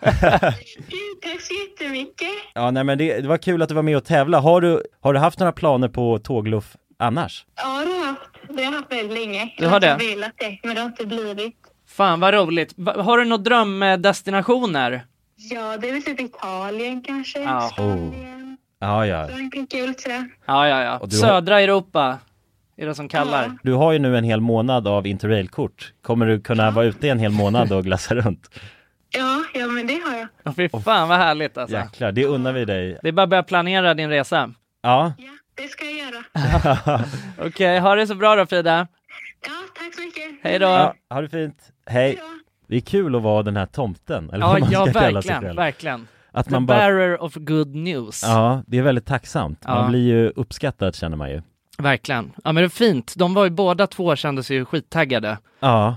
Speaker 10: Gud, Tack så jättemycket.
Speaker 3: Ja, nej men det, det var kul att du var med och tävla. Har du, har du haft några planer på tågluff annars?
Speaker 10: Ja, det har jag haft. Det har jag haft väldigt länge.
Speaker 7: Du har
Speaker 10: Jag
Speaker 7: det?
Speaker 10: velat det, men det har inte blivit.
Speaker 7: Fan vad roligt. Va- Har du några drömdestinationer?
Speaker 10: Ja, det är väl typ Italien kanske.
Speaker 7: Ja.
Speaker 10: Oh.
Speaker 3: Ja, ja.
Speaker 10: Frankrike och lite sådär.
Speaker 7: Ja, ja, ja.
Speaker 3: Och du har-
Speaker 7: Södra Europa är det som kallar.
Speaker 3: Du har ju nu en hel månad av interrailkort. Kommer du kunna vara ute i en hel månad och glassa runt?
Speaker 10: Ja, ja, men det har jag.
Speaker 7: Ja. Fy fan vad härligt alltså.
Speaker 3: Jäklar, det unnar vi dig.
Speaker 7: Det är bara att börja planera din resa.
Speaker 3: Ja.
Speaker 10: Det ska jag göra.
Speaker 7: Okej, ha det så bra då Frida.
Speaker 10: Ja, tack så mycket.
Speaker 7: Hej då.
Speaker 3: ja, ha det fint. Hej. Det är kul att vara den här tomten, eller
Speaker 7: Ja,
Speaker 3: vad man
Speaker 7: ja
Speaker 3: ska kalla sig
Speaker 7: verkligen,
Speaker 3: själv.
Speaker 7: verkligen.
Speaker 3: Att
Speaker 7: The
Speaker 3: man bara-
Speaker 7: bearer of good news.
Speaker 3: Ja, det är väldigt tacksamt.
Speaker 7: Ja.
Speaker 3: Man blir ju uppskattad känner man ju.
Speaker 7: Verkligen. Ja men det är fint. De var ju båda två kände sig ju skittaggade
Speaker 3: Ja,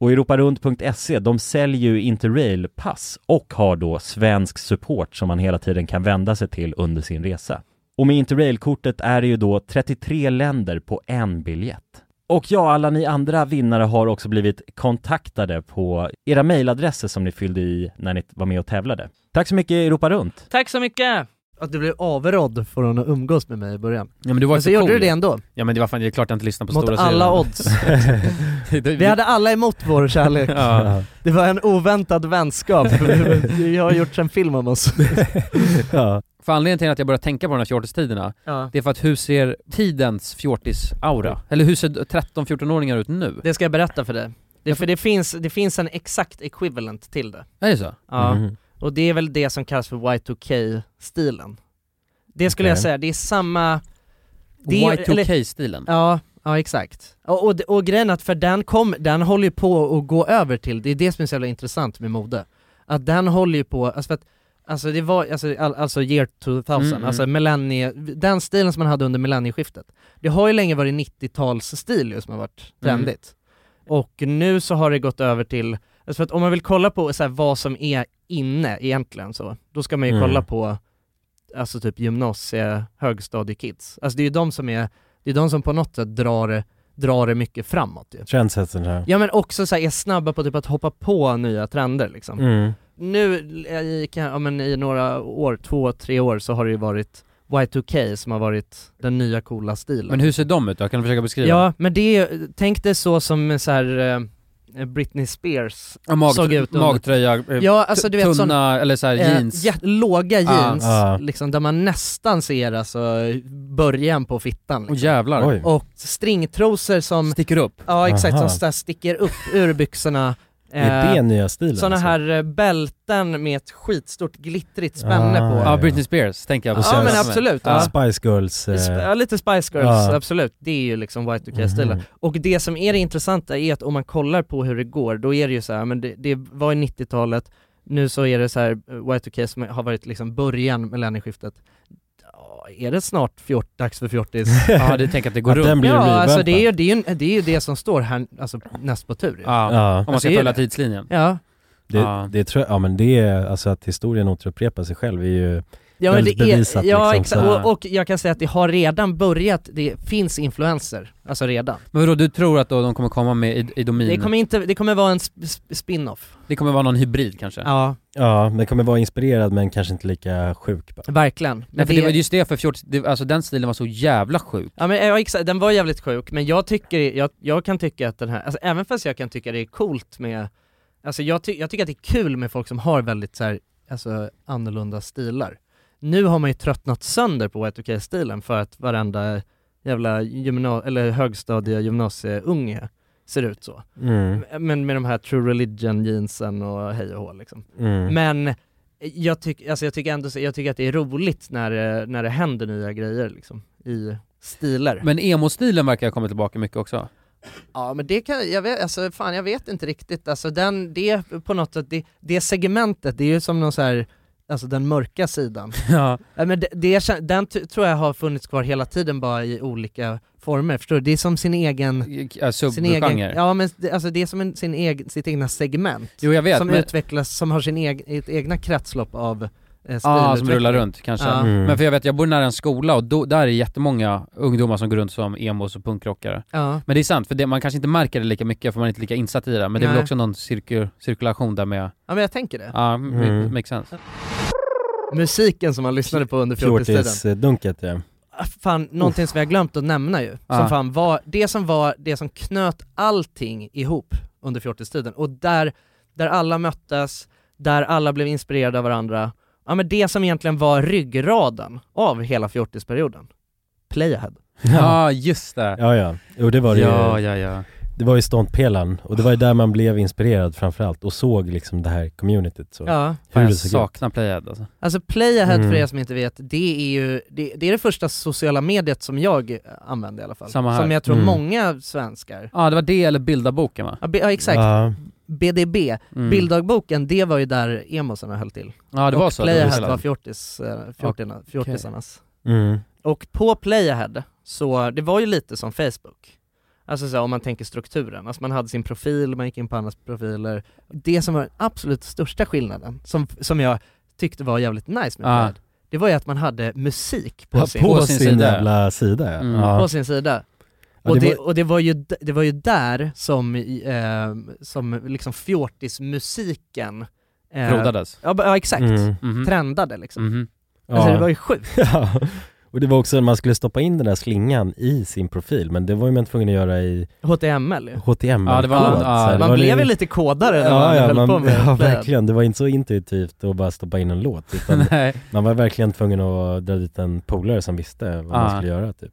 Speaker 3: Och europarunt.se, E, de säljer ju Interrail-pass och har då svensk support som man hela tiden kan vända sig till under sin resa. Och med Interrail-kortet är det ju då 33 länder på en biljett. Och ja, alla ni andra vinnare har också blivit kontaktade på era mejladresser som ni fyllde i när ni var med och tävlade. Tack så mycket Europa Runt!
Speaker 7: Tack så mycket!
Speaker 2: Att du blev avrådd från att umgås med mig i början.
Speaker 1: Ja, men du var ju
Speaker 2: så
Speaker 1: så
Speaker 2: gjorde
Speaker 1: cool.
Speaker 2: du det ändå.
Speaker 1: Ja men det var fan, det är klart jag inte lyssnar på
Speaker 2: Mot
Speaker 1: stora
Speaker 2: alla
Speaker 1: syrran. (laughs)
Speaker 2: odds.
Speaker 1: Det- (laughs) det-
Speaker 2: Vi hade alla emot vår kärlek.
Speaker 1: Ja.
Speaker 2: Det var en oväntad
Speaker 1: (laughs)
Speaker 2: vänskap. Jag har gjort en film om oss.
Speaker 3: ja.
Speaker 1: För anledningen till att jag började tänka på de här fjortistiderna,
Speaker 2: Ja.
Speaker 1: det är för att hur ser tidens fjortis-aura? Eller hur ser 13-14-åringar ut nu?
Speaker 2: Det ska jag berätta för dig. Det, för det finns, det finns en exakt equivalent till det.
Speaker 1: Är det så?
Speaker 2: Ja.
Speaker 3: Mm.
Speaker 1: Mhm.
Speaker 2: Och det är väl det som kallas för Y2K-stilen. Det skulle jag
Speaker 1: Okej.
Speaker 2: säga, det är samma... är- eller-
Speaker 1: Y2K-stilen?
Speaker 2: Ja, ja exakt. Och, och, och grejen är att för den, kom, den håller ju på att gå över till, det är det som är så jävla intressant med mode. Att den håller ju på, alltså för att Alltså det var, alltså, all, alltså year 2000,
Speaker 7: Mm,
Speaker 2: alltså
Speaker 7: mm.
Speaker 2: millennie, den stilen som man hade under millennieskiftet. Det har ju länge varit 90-talsstil ju som har varit
Speaker 7: Mm.
Speaker 2: trendigt. Och nu så har det gått över till, alltså för att om man vill kolla på så här, vad som är inne egentligen så, då ska man ju
Speaker 7: Mm.
Speaker 2: kolla på alltså typ gymnasie, högstadiekids. Alltså det är ju de som är, det är de som på något sätt drar, det- drar det mycket framåt ju.
Speaker 3: Trendsetsen här.
Speaker 2: Ja men också så här, är snabba på typ att hoppa på nya trender liksom.
Speaker 3: Mm.
Speaker 2: Nu eh, i, kan- ja, men i några år, två, tre år så har det ju varit Y2K som har varit den nya coola stilen.
Speaker 1: Men hur ser de ut då? Kan du försöka beskriva?
Speaker 2: Ja, men det, är- tänk dig så som så här, eh, Britney Spears
Speaker 1: Ja, mag-
Speaker 2: såg ut under-
Speaker 1: magtröja, eh,
Speaker 2: ja, alltså, du vet,
Speaker 1: tunna
Speaker 2: sån,
Speaker 1: eller så här,
Speaker 2: eh,
Speaker 1: jeans.
Speaker 2: jät- låga jeans,
Speaker 1: Ah.
Speaker 2: Liksom, där man nästan ser alltså början på fittan liksom.
Speaker 1: Åh, jävlar. Oj.
Speaker 2: Och stringtrosor som
Speaker 1: Sticker upp?
Speaker 2: Ja exakt,
Speaker 3: Aha.
Speaker 2: som så här sticker upp ur byxorna
Speaker 3: Är det nya stilen,
Speaker 2: Sådana
Speaker 3: alltså?
Speaker 2: eh, här eh, bälten med ett skitstort glittrigt spänne
Speaker 3: Ah,
Speaker 2: på
Speaker 1: Ja, Britney Spears tänker jag på.
Speaker 2: Ja men absolut, ja.
Speaker 3: Spice Girls. eh,
Speaker 2: Ja, lite Spice Girls,
Speaker 3: Ja.
Speaker 2: absolut. Det är ju liksom White UK stilen
Speaker 3: Mhm.
Speaker 2: Och det som är det intressanta är att om man kollar på hur det går, då är det ju så här, men det, det var i 90-talet, nu så är det så här eh, White UK som har varit liksom början med millennieskiftet. är det snart fjort, dags för fjortis?
Speaker 1: Ja, du tänker att det går Att runt. den blir
Speaker 2: ja,
Speaker 1: en
Speaker 2: alltså det är, ju,
Speaker 1: revampad.
Speaker 2: det, är ju, det är ju det som står här alltså, näst på tur. ju.
Speaker 1: Ja, om man
Speaker 2: Alltså,
Speaker 1: ska
Speaker 2: det är
Speaker 1: följa
Speaker 2: det.
Speaker 1: tidslinjen.
Speaker 2: Ja.
Speaker 3: Det,
Speaker 1: Ja.
Speaker 3: det tror jag, ja men det är, alltså att historien återupprepar sig själv är ju
Speaker 2: Ja, men det
Speaker 3: väldigt bevisat
Speaker 2: är, ja
Speaker 3: liksom.
Speaker 2: exakt, och, och jag kan säga att det har redan börjat, det finns influenser, alltså redan.
Speaker 1: Men vadå, du tror att då de kommer komma med i, i domin?
Speaker 2: Det kommer, inte, det kommer vara en sp- sp- spin-off.
Speaker 1: Det kommer vara någon hybrid kanske?
Speaker 2: Ja.
Speaker 3: Ja, den kommer vara inspirerad men kanske inte lika sjuk bara.
Speaker 2: Verkligen.
Speaker 1: Nej,
Speaker 2: Men
Speaker 1: för det
Speaker 2: det-
Speaker 1: var just det för 14, det, alltså den stilen var så jävla sjuk.
Speaker 2: Ja men ja, exakt, den var jävligt sjuk, men jag tycker, jag, jag kan tycka att den här, alltså även fast jag kan tycka det är coolt med, alltså jag, ty, jag tycker att det är kul med folk som har väldigt så här, alltså annorlunda stilar. Nu har man ju tröttnat sönder på White OK-stilen för att varenda jävla gymna, eller högstadie gymnasieunge ser ut så.
Speaker 3: Mm.
Speaker 2: Men med de här true religion jeansen och hej och hå liksom.
Speaker 3: Mm.
Speaker 2: Men jag, tyck, alltså jag tycker ändå så- jag tycker att det är roligt när, det- när det händer nya grejer liksom, i stilar.
Speaker 1: Men emo-stilen verkar ha kommit tillbaka mycket
Speaker 2: (laughs)
Speaker 1: också.
Speaker 2: Ja men det kan, jag vet, alltså fan jag vet inte riktigt, alltså den, det på något sätt, det, det segmentet, det är ju som någon så här, alltså den
Speaker 1: (laughs)
Speaker 2: mörka sidan.
Speaker 1: Ja.
Speaker 2: Nej, men det, det, kän- den t- tror jag har funnits kvar hela tiden bara i olika former, förstår du? Det är som sin egen...
Speaker 1: ja,
Speaker 2: sin egen
Speaker 1: subgenre.
Speaker 2: Ja men det, alltså det är som en, sin egen, sitt egna segment.
Speaker 1: Jo, jag vet,
Speaker 2: Som
Speaker 1: men-
Speaker 2: utvecklas, som har sin egen, ett egna kretslopp av eh,
Speaker 1: Ja, som
Speaker 2: stilutveckling.
Speaker 1: rullar runt kanske.
Speaker 2: Ja.
Speaker 3: mm.
Speaker 1: Men för jag vet, jag bor nära en skola och då, där är jättemånga ungdomar som går runt som emos och punkrockare.
Speaker 2: Ja.
Speaker 1: Men det är sant, för det, man kanske inte märker det lika mycket för man är inte lika insatt i det. Men det är väl
Speaker 2: Nej.
Speaker 1: också någon cirku, cirkulation där med...
Speaker 2: Ja men jag tänker det.
Speaker 1: Ja, mm.
Speaker 3: Mm.
Speaker 1: makes
Speaker 2: (laughs)
Speaker 1: sense.
Speaker 2: Musiken som man lyssnade på under fjortistiden. Ah,
Speaker 3: Fjortisdunket ja.
Speaker 2: fan, någonting som jag glömt att nämna ju,
Speaker 3: Ah.
Speaker 2: som fan var, det som var, det som knöt allting ihop under fjortistiden och där, där alla möttes, där alla blev inspirerade av varandra, ja men det som egentligen var ryggraden av hela fjortisperioden, Playahead.
Speaker 1: Ja, just det.
Speaker 3: (laughs) Ja ja, jo det var det
Speaker 1: Ja,
Speaker 3: ju.
Speaker 1: ja, ja.
Speaker 3: Det var ju ståndpelaren och det var ju där man blev inspirerad framförallt och såg liksom det här communityt så.
Speaker 2: Ja.
Speaker 1: Fan, jag
Speaker 3: såg ut.
Speaker 1: saknar Playhead alltså.
Speaker 2: Alltså Playahead
Speaker 3: Mm.
Speaker 2: för er som inte vet, det är ju det, det, är det första sociala mediet som jag eh, använde i alla fall.
Speaker 1: Samma här.
Speaker 2: Som jag tror
Speaker 1: Mm.
Speaker 2: många svenskar.
Speaker 1: Ja, det var det eller Bilda-boken va?
Speaker 2: Ja, bi- ja exakt.
Speaker 1: Ja.
Speaker 2: BDB,
Speaker 1: Mm.
Speaker 2: Bilddagboken, det var ju där emosarna höll till.
Speaker 1: Ja, det
Speaker 2: och
Speaker 1: var så, det var
Speaker 2: Playahead
Speaker 1: så.
Speaker 2: var fjortis, eh, fjortina,
Speaker 1: Okej.
Speaker 2: fjortisarnas.
Speaker 3: Mm.
Speaker 2: Och på Playahead, så det var ju lite som Facebook. Alltså så här, om man tänker strukturen, alltså man hade sin profil, man gick in på andras profiler. Det som var den absolut största skillnaden, som, som jag tyckte var jävligt nice med
Speaker 3: Ah.
Speaker 2: Playahead, det var ju att man hade musik på
Speaker 3: Ja,
Speaker 2: sin,
Speaker 3: på, sin, jävla sida ja.
Speaker 2: Mm.
Speaker 3: ja.
Speaker 2: på sin sida.
Speaker 3: Ja,
Speaker 2: och
Speaker 3: det
Speaker 2: det,
Speaker 3: var-
Speaker 2: och det, var ju, d- det var ju där som, i- eh, som liksom fjortismusiken eh,
Speaker 3: Frodades.
Speaker 2: Ja, b- ja exakt,
Speaker 3: Mm. Mhm.
Speaker 2: trendade liksom.
Speaker 3: Ja.
Speaker 2: Alltså det var ju sjukt.
Speaker 3: (laughs) ja. Och det var också när man skulle stoppa in den där slingan i sin profil men det var ju man tvungen att göra i
Speaker 2: HTML ju.
Speaker 3: HTML
Speaker 2: Ja, det var- ja, man blev ju lite kodare när man höll på med
Speaker 3: (laughs) Ja
Speaker 2: Playahead.
Speaker 3: verkligen, det var inte så intuitivt att bara stoppa in en
Speaker 2: (laughs)
Speaker 3: låt utan
Speaker 1: (laughs) Nej.
Speaker 3: man var verkligen tvungen att dra dit en polare som visste vad
Speaker 1: Ja.
Speaker 3: man skulle göra typ.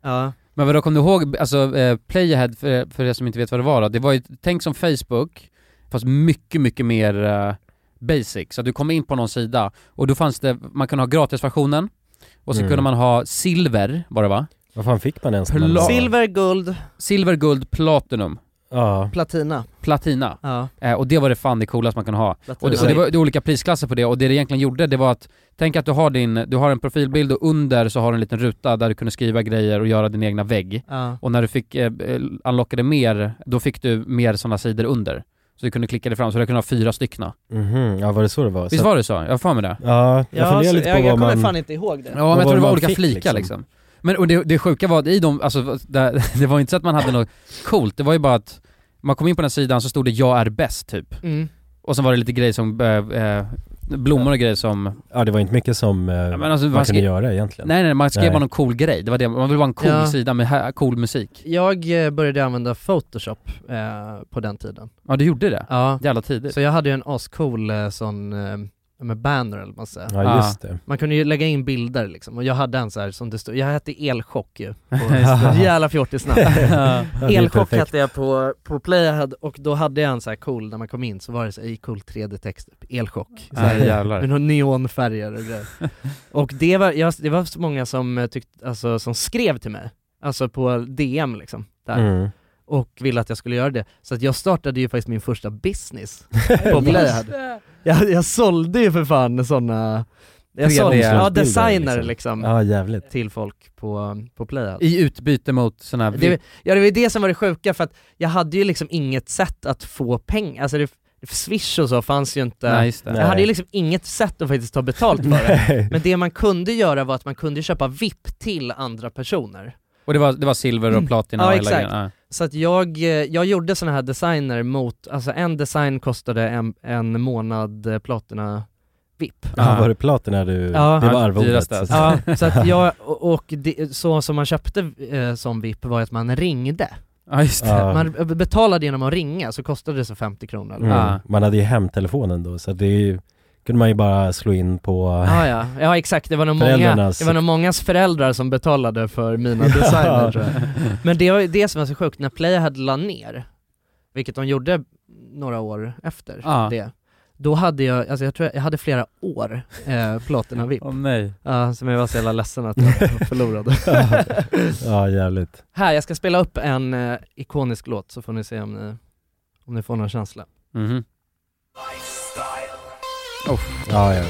Speaker 1: Men vadå, kom du ihåg, alltså eh, Playahead, för, för er som inte vet vad det var då, det var ju, tänk som Facebook, fast mycket, mycket mer eh, basic. Så att du kom in på någon sida och då fanns det, man kunde ha gratisversionen, och så
Speaker 3: Mm.
Speaker 1: kunde man ha silver, var det va?
Speaker 3: Vad fan fick man ens när man
Speaker 1: Pla-
Speaker 3: var-
Speaker 2: Silver, guld,
Speaker 1: Silver, guld, platinum.
Speaker 3: Ja.
Speaker 2: platina.
Speaker 1: Platina.
Speaker 2: Ja.
Speaker 1: Eh, och det var det fan det coolaste man kan ha.
Speaker 2: Platina.
Speaker 1: Och det, och det var det var olika prisklasser på det och det det egentligen gjorde det var att, tänk att du har din, du har en profilbild och under så har du en liten ruta där du kunde skriva grejer och göra din egna vägg.
Speaker 2: Ja.
Speaker 1: Och när du fick, eh, eh, unlockade mer, då fick du mer sådana sidor under. Så du kunde klicka dig fram, så du kunde ha fyra styckna.
Speaker 3: Mhm, ja var det så det var?
Speaker 1: Visst var det så? Jag har för mig det.
Speaker 3: Ja, jag
Speaker 2: Ja,
Speaker 3: funderar
Speaker 2: så-
Speaker 3: lite på
Speaker 2: jag-
Speaker 3: vad
Speaker 2: jag
Speaker 3: man...
Speaker 2: kommer fan inte ihåg det.
Speaker 1: Ja men
Speaker 3: Vad
Speaker 1: jag tror
Speaker 3: var
Speaker 1: det var
Speaker 3: man
Speaker 1: olika
Speaker 3: fick,
Speaker 1: flikar liksom.
Speaker 3: liksom?
Speaker 1: Men och det, det sjuka var att i dem, alltså (laughs) det, det var inte så att man hade något coolt, det var ju bara att man kom in på den här sidan så stod det 'Jag är bäst' typ.
Speaker 2: Mm.
Speaker 1: Och sen var det lite grejer som, eh, eh, blommor och grejer som...
Speaker 3: Ja det var inte mycket som eh,
Speaker 1: men alltså,
Speaker 3: man,
Speaker 1: man
Speaker 3: kunde
Speaker 1: skrev-
Speaker 3: göra egentligen.
Speaker 1: Nej nej, man skrev
Speaker 3: Nej.
Speaker 1: bara någon cool grej, det var det, man ville vara en cool
Speaker 2: Ja.
Speaker 1: sida med här, cool musik.
Speaker 2: Jag eh, började använda photoshop eh, på den tiden.
Speaker 1: Ja du gjorde det?
Speaker 2: Ja.
Speaker 1: Jävla tidigt.
Speaker 2: (laughs) Så jag hade ju en ascool eh, sån, eh, med banner eller vad man säger.
Speaker 3: Ja, just det.
Speaker 2: Man kunde ju lägga in bilder liksom, och jag hade en så här som det stod, jag hette Elchock ju.
Speaker 1: (laughs)
Speaker 2: på- (laughs)
Speaker 1: Just det.
Speaker 2: Jävla fjortisnamn.
Speaker 1: Ja, det är
Speaker 2: Elchock
Speaker 1: perfekt.
Speaker 2: hette jag på, på Playahead och då hade jag en så här cool, när man kom in så var det så här, i cool 3D-text, typ, Elchock. Så
Speaker 1: Ja,
Speaker 2: här,
Speaker 1: jävlar.
Speaker 2: Med några neonfärger och grejer. Och det var, jag, det var så många som, eh, tyckte, alltså, som skrev till mig, alltså på DM liksom. Där. (laughs)
Speaker 3: Mm.
Speaker 2: Och ville att jag skulle göra det. Så att jag startade ju faktiskt min första business på Playhead. Jag, jag sålde ju för fan sådana Jag sa det, ja
Speaker 11: 3D-omslagsbilder,
Speaker 2: designer
Speaker 11: liksom.
Speaker 2: liksom,
Speaker 11: Ja, jävligt.
Speaker 2: till folk på, på Playout.
Speaker 1: I utbyte mot sådana här...
Speaker 2: Alltså. Det, ja det var ju det som var det sjuka för att jag hade ju liksom inget sätt att få pengar, alltså det, Swish och så fanns ju inte,
Speaker 1: Nej, just det.
Speaker 2: jag
Speaker 1: Nej.
Speaker 2: hade ju liksom inget sätt att faktiskt ta betalt för det.
Speaker 11: Nej.
Speaker 2: Men det man kunde göra var att man kunde köpa VIP till andra personer.
Speaker 1: Och det var, det var silver och platina och
Speaker 2: Mm.
Speaker 1: hela
Speaker 2: ja exakt.
Speaker 1: grejen, ja.
Speaker 2: Så att jag, eh, jag gjorde såna här designer mot, alltså en design kostade en, en månad eh, platina VIP.
Speaker 3: Ja, (laughs) var det platina du...
Speaker 2: Ja.
Speaker 3: det var arvodet.
Speaker 2: Dyraste. Ja, så att jag, och och det, så som man köpte eh, som VIP var att man ringde.
Speaker 1: Ja, just
Speaker 3: det. Ja.
Speaker 2: Man eh, betalade genom att ringa, så kostade det så 50 kronor.
Speaker 3: Mm. Man hade ju hemtelefonen då, så det är ju, kunde man ju bara slå in på...
Speaker 2: Ja, ja. ja exakt, det var, nog många,
Speaker 3: Föräldrarnas-
Speaker 2: det var nog mångas föräldrar som betalade för mina designer tror jag.
Speaker 3: (laughs)
Speaker 2: Men det var ju det som var så sjukt, när Playhead la ner, vilket de gjorde några år efter
Speaker 1: Ja.
Speaker 2: det, då hade jag, alltså jag tror jag, jag hade flera år eh, platina VIP.
Speaker 1: Åh, nej.
Speaker 2: Ja, som jag var så jävla ledsen att (laughs) jag förlorade.
Speaker 3: ja, jävligt.
Speaker 2: Här, jag ska spela upp en eh, ikonisk låt så får ni se om ni, om ni får någon känsla.
Speaker 1: Mhm.
Speaker 2: Oh.
Speaker 3: Ja, ja.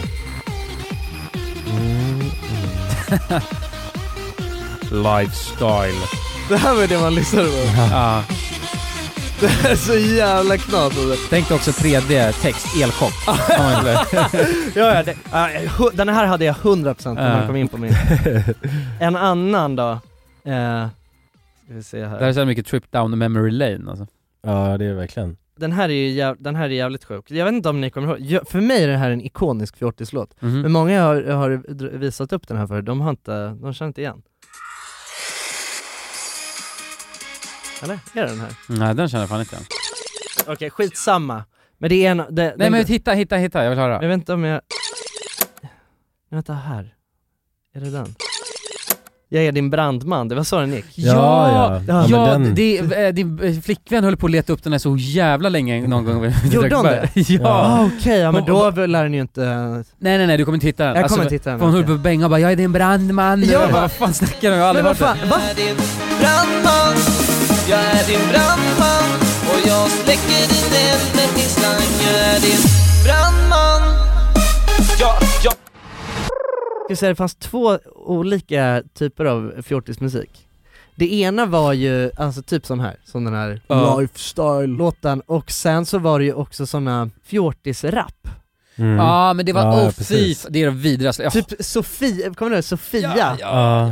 Speaker 1: Lifestyle.
Speaker 2: Det här var det man lyssnade på.
Speaker 1: Ja.
Speaker 2: Det är så jävla knas. alltså.
Speaker 1: Tänk dig också 3D-text,
Speaker 2: (laughs)
Speaker 1: elchock. Om man skulle-
Speaker 2: ja, ja, det, ja, hu- den här hade jag 100% när man
Speaker 1: Ja.
Speaker 2: kom in
Speaker 1: (laughs)
Speaker 2: på min. En annan då. Eh, ska vi se
Speaker 1: Det här är
Speaker 2: här.
Speaker 1: så här mycket trip down memory lane alltså.
Speaker 3: Ja, det är verkligen.
Speaker 2: Den här är, ju jäv, den här är jävligt sjuk. Jag vet inte om ni kommer ihåg, jag, för mig är det här en ikonisk fjortislåt.
Speaker 1: Mhm.
Speaker 2: Men många jag har, jag har dr- visat upp den här för, de har inte, de känner inte igen. Eller? Är det den här?
Speaker 1: Nej, den känner jag fan inte igen.
Speaker 2: Okej, skitsamma. Men det är en... Det,
Speaker 1: Nej
Speaker 2: den-
Speaker 1: men hitta, hitta, hitta, jag vill höra.
Speaker 2: Jag vet inte om jag... Men Vänta, här. Är det den? Jag är din brandman, det var så den gick.
Speaker 1: (laughs) Ja, ja,
Speaker 2: ja.
Speaker 1: det- det, eh, din eh, flickvän höll på att leta upp den här så jävla länge någon gång.
Speaker 2: Gjorde hon det?
Speaker 1: (laughs) ja.
Speaker 2: Ah, Okej, ja, men
Speaker 1: Hon-
Speaker 2: då lär den ju inte...
Speaker 1: Nej nej nej, du kommer inte hitta den.
Speaker 2: Jag kommer inte hitta den,
Speaker 1: för Hon höll på
Speaker 2: okej.
Speaker 1: att bänga och bara 'Jag är din brandman'
Speaker 2: Ja,
Speaker 1: ja, bara,
Speaker 2: va?
Speaker 1: Vad fan snackar du om? Jag har aldrig hört det.
Speaker 2: va?
Speaker 4: Brandman, jag är din brandman och jag släcker din eld i slang. Jag är din brandman. Ja, ja.
Speaker 2: Ska säga, det fanns två olika typer av fjortismusik. Det ena var ju, alltså typ sån här, som den här
Speaker 1: Ja.
Speaker 2: Lifestyle-låten, och sen så var det ju också såna fjortis-rap.
Speaker 3: Mm.
Speaker 1: Ja men det var,
Speaker 2: Mm. Ja,
Speaker 1: åh fy,
Speaker 2: precis.
Speaker 1: fan, det är det vidrigaste. Ja.
Speaker 2: Typ Sofia, kommer du ihåg Sofia?
Speaker 1: Ja,
Speaker 3: Ja.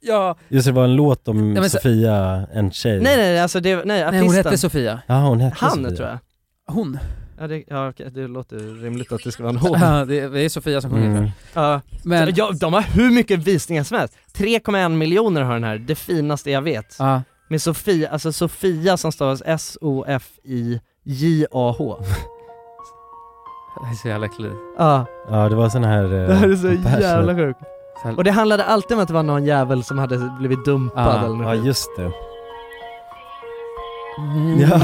Speaker 1: ja.
Speaker 3: Just det, det var en låt om
Speaker 2: men så-
Speaker 3: Sofia, en tjej.
Speaker 2: Nej nej, alltså det, nej
Speaker 1: hon
Speaker 2: artisten.
Speaker 1: hette Sofia.
Speaker 3: Ja, hon hette
Speaker 2: Han
Speaker 3: Sofia. Mm.
Speaker 2: tror jag.
Speaker 1: Hon?
Speaker 2: Ja, det, ja okej, det låter ju rimligt att det ska vara
Speaker 1: (laughs)
Speaker 2: en hon.
Speaker 1: Ja, det, det är Sofia som sjunger
Speaker 3: Mm.
Speaker 1: mm.
Speaker 2: Ja.
Speaker 1: Men-
Speaker 2: ja, de har hur mycket visningar som helst. 3,1 miljoner har den här, det finaste jag vet.
Speaker 1: Ja.
Speaker 2: Med Sofia, alltså Sofia som stavas S-O-F-I-J-A-H.
Speaker 1: Det är så jävla äckligt.
Speaker 2: Ja,
Speaker 3: Ja, det var sån här... eh,
Speaker 2: det här är så
Speaker 3: Persson.
Speaker 2: jävla sjukt.
Speaker 1: Så här-
Speaker 2: Och det handlade alltid om att det var någon jävel som hade blivit dumpad eller
Speaker 3: Ja,
Speaker 2: något.
Speaker 3: just det.
Speaker 1: Mm.
Speaker 3: Ja.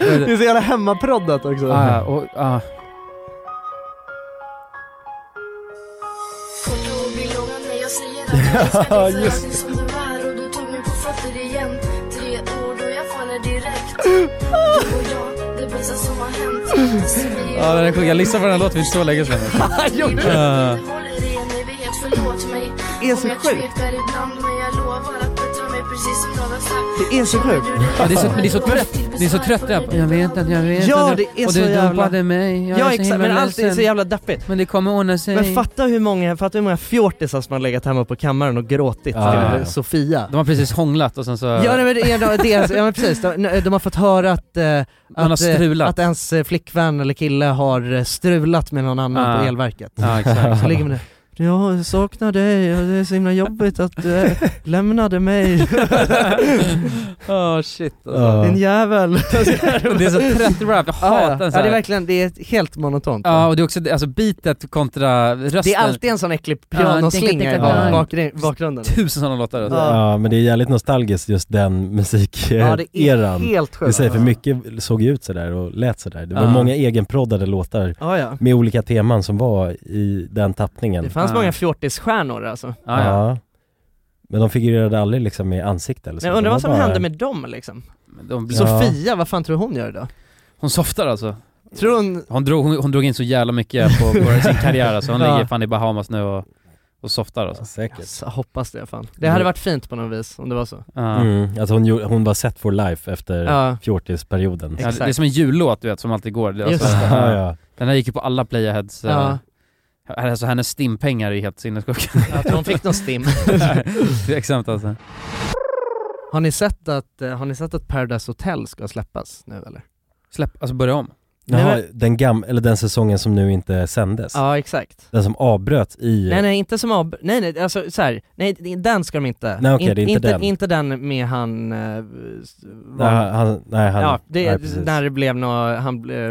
Speaker 2: Det är så jävla hemmaproddat också.
Speaker 1: Ja, och, ja.
Speaker 12: Och då blir långa när jag säger att jag älskar dig för
Speaker 3: Just
Speaker 12: alltid som du är och du tog mig på fötter igen Tre ord och jag faller direkt Du och jag, det bästa som har hänt Så vi
Speaker 1: ja, den är sjuk. Jag lyssnade på den här låten för så länge sedan.
Speaker 12: Gjorde
Speaker 1: du? Ja.
Speaker 12: håller i en evighet, förlåt mig
Speaker 2: Det är så
Speaker 12: Om jag
Speaker 2: sjukt.
Speaker 12: tvekar ibland men jag lovar att bättra mig precis som jag har sagt
Speaker 2: Det är så sjukt.
Speaker 1: Ja, det är så, men det är så trött, det är så trött jag på. Jag vet att jag vet
Speaker 2: Ja,
Speaker 1: att
Speaker 2: det
Speaker 1: du-
Speaker 2: är
Speaker 1: och
Speaker 2: så
Speaker 1: du
Speaker 2: jävla-
Speaker 1: dumpade mig. Jag
Speaker 2: Ja
Speaker 1: är så
Speaker 2: exakt,
Speaker 1: himla
Speaker 2: men allt är så
Speaker 1: ledsen.
Speaker 2: jävla deppigt.
Speaker 1: Men det kommer ordna sig.
Speaker 2: Men fatta hur många, fatta hur många fjortisar som har legat hemma på kammaren och gråtit
Speaker 1: Ja,
Speaker 2: till
Speaker 1: ja, ja.
Speaker 2: Sofia.
Speaker 1: De har precis hånglat och sen så...
Speaker 2: Ja, nej, men det är då- dels, ja men precis, de, de har fått höra att, eh,
Speaker 1: har
Speaker 2: att, eh,
Speaker 1: strulat.
Speaker 2: att ens eh, flickvän eller kille har eh, strulat med någon annan
Speaker 1: Ja.
Speaker 2: på elverket.
Speaker 1: Ja, exakt.
Speaker 2: Så ligger man där. Jag saknar dig och det är så himla jobbigt att du eh, (laughs)
Speaker 1: (laughs)
Speaker 2: lämnade mig. (laughs)
Speaker 1: Åh shit
Speaker 3: Ja.
Speaker 2: Din jävel.
Speaker 1: Det är så trött rap, jag hatar
Speaker 2: ja,
Speaker 1: den så
Speaker 2: ja, det
Speaker 1: här.
Speaker 2: är verkligen, det är helt monotont.
Speaker 1: Ja och det är också alltså beatet kontra rösten.
Speaker 2: Det är alltid en sån äcklig pianoslinga i bak- bakgr- bakgrunden.
Speaker 1: Tusen sådana låtar. alltså.
Speaker 3: Ja. men det är jävligt nostalgiskt just den musikeran.
Speaker 2: Ja, det är helt sjukt.
Speaker 3: I sig, för mycket såg ju ut sådär och lät sådär. Det var
Speaker 2: Ja.
Speaker 3: många egenproddade låtar
Speaker 2: Ja, ja.
Speaker 3: med olika teman som var i den tappningen.
Speaker 2: Det fanns många fjortisstjärnor alltså.
Speaker 3: ja. Men de figurerade aldrig liksom med ansikte eller så.
Speaker 2: Men jag undrar
Speaker 3: De
Speaker 2: vad som
Speaker 3: var bara-
Speaker 2: hände med dem liksom?
Speaker 1: de blev-
Speaker 2: Sofia, vad fan tror hon gör idag?
Speaker 1: Hon softar alltså?
Speaker 2: Tror hon...
Speaker 1: Hon drog, hon, hon drog in så jävla mycket på,
Speaker 3: (laughs)
Speaker 1: på sin karriär alltså. Hon
Speaker 2: Ja.
Speaker 1: ligger fan i Bahamas nu och, och softar alltså.
Speaker 3: säkert.
Speaker 2: Jag hoppas det fan. Det hade varit fint på något vis om det var så.
Speaker 3: Mm, att hon, gjorde- hon var set for life efter
Speaker 2: Ja.
Speaker 3: fjortisperioden.
Speaker 1: Ja, det är som en jullåt du vet som alltid går. Det är
Speaker 3: Just
Speaker 1: alltså-
Speaker 3: det. Ja, ja.
Speaker 1: Den här gick ju på alla playaheads. eh,
Speaker 2: Ja.
Speaker 1: Alltså hennes stimpengar är ju helt sinnessjuka.
Speaker 3: (laughs)
Speaker 2: Jag tror hon fick någon stim.
Speaker 1: Tveksamt alltså.
Speaker 2: (laughs) Har ni sett att, eh, har ni sett att Paradise Hotel ska släppas nu eller?
Speaker 1: Släpp, alltså börja om.
Speaker 3: Jaha,
Speaker 2: Nej,
Speaker 3: den gam- eller den säsongen som nu inte sändes.
Speaker 2: Ja, exakt.
Speaker 3: Den som avbröts i...
Speaker 2: Nej nej, inte som ab... Nej nej, alltså så här. nej det- den ska de inte.
Speaker 3: Nej, okej,
Speaker 2: In-
Speaker 3: det är inte den.
Speaker 2: Inte den med han... eh, s-
Speaker 3: Nej, han- han- nej, han-
Speaker 2: ja, det,
Speaker 3: nej, precis.
Speaker 2: när det blev nå han blev,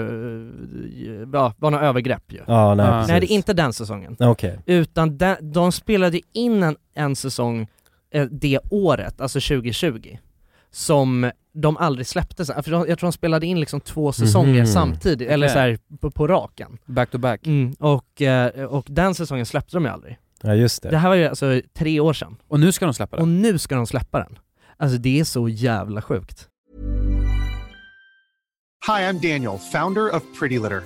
Speaker 2: ja, var något övergrepp ju.
Speaker 3: Ja, nej, precis.
Speaker 2: nej det är inte den säsongen.
Speaker 3: Okej.
Speaker 2: Utan de, de spelade in en, en säsong eh, det året, alltså 2020, som de aldrig släppte sen. För de, jag tror de spelade in liksom två säsonger
Speaker 1: Mhm.
Speaker 2: samtidigt, eller
Speaker 1: Okej.
Speaker 2: så här på, på raken.
Speaker 1: Back to back.
Speaker 2: Mm, och, eh, och den säsongen släppte de ju aldrig.
Speaker 3: Ja, just det.
Speaker 2: Det här var ju alltså tre år sedan.
Speaker 1: Och nu ska de släppa den?
Speaker 2: Och nu ska de släppa den. Alltså det är så jävla sjukt.
Speaker 13: Hi, I'm Daniel, founder of Pretty Litter.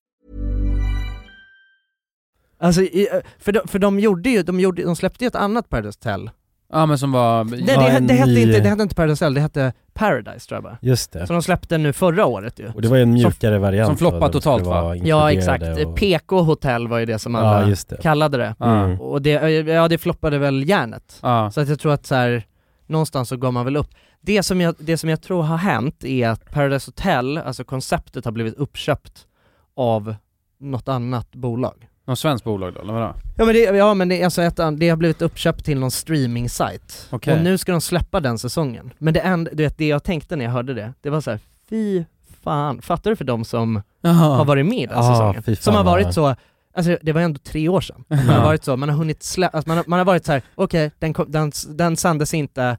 Speaker 2: Alltså, i- eh, för de, för de gjorde ju, de, gjorde, de släppte ju ett annat Paradise Hotel.
Speaker 1: Ja men som var...
Speaker 2: Nej, det, det, det, hette inte, det hette inte Paradise Hotel, det hette Paradise tror jag bara.
Speaker 3: Just det.
Speaker 2: Som de släppte nu förra året ju.
Speaker 3: Och det var ju en mjukare variant
Speaker 2: som
Speaker 3: floppade
Speaker 2: floppade
Speaker 3: totalt va?
Speaker 2: Ja exakt, PK Hotel var ju det som
Speaker 3: Ja,
Speaker 2: alla
Speaker 3: just det.
Speaker 2: kallade det.
Speaker 3: Mm.
Speaker 2: Och det, eh, ja det floppade väl järnet. Så att jag tror att så här, någonstans så gav man väl upp. Det som, jag, det som jag tror har hänt är att Paradise Hotel, alltså konceptet har blivit uppköpt av något annat bolag.
Speaker 1: Något svenskt bolag då, eller vadå?
Speaker 2: Ja men det, ja, men det, är alltså ett, an- det har blivit uppköpt till någon streaming-sajt.
Speaker 1: Okej.
Speaker 2: Och nu ska de släppa den säsongen. Men det, en, du vet, det jag tänkte när jag hörde det, det var så här, fy fan, fattar du för de som
Speaker 1: Jaha.
Speaker 2: har varit med i den
Speaker 1: Ja,
Speaker 2: säsongen?
Speaker 1: fy fan
Speaker 2: som har
Speaker 1: vad-
Speaker 2: varit så, alltså det var ändå tre år sedan. Man
Speaker 1: Ja.
Speaker 2: har varit så, man har hunnit slä, alltså, man, har, man har varit så här, okej, den, kom- den, den sändes inte,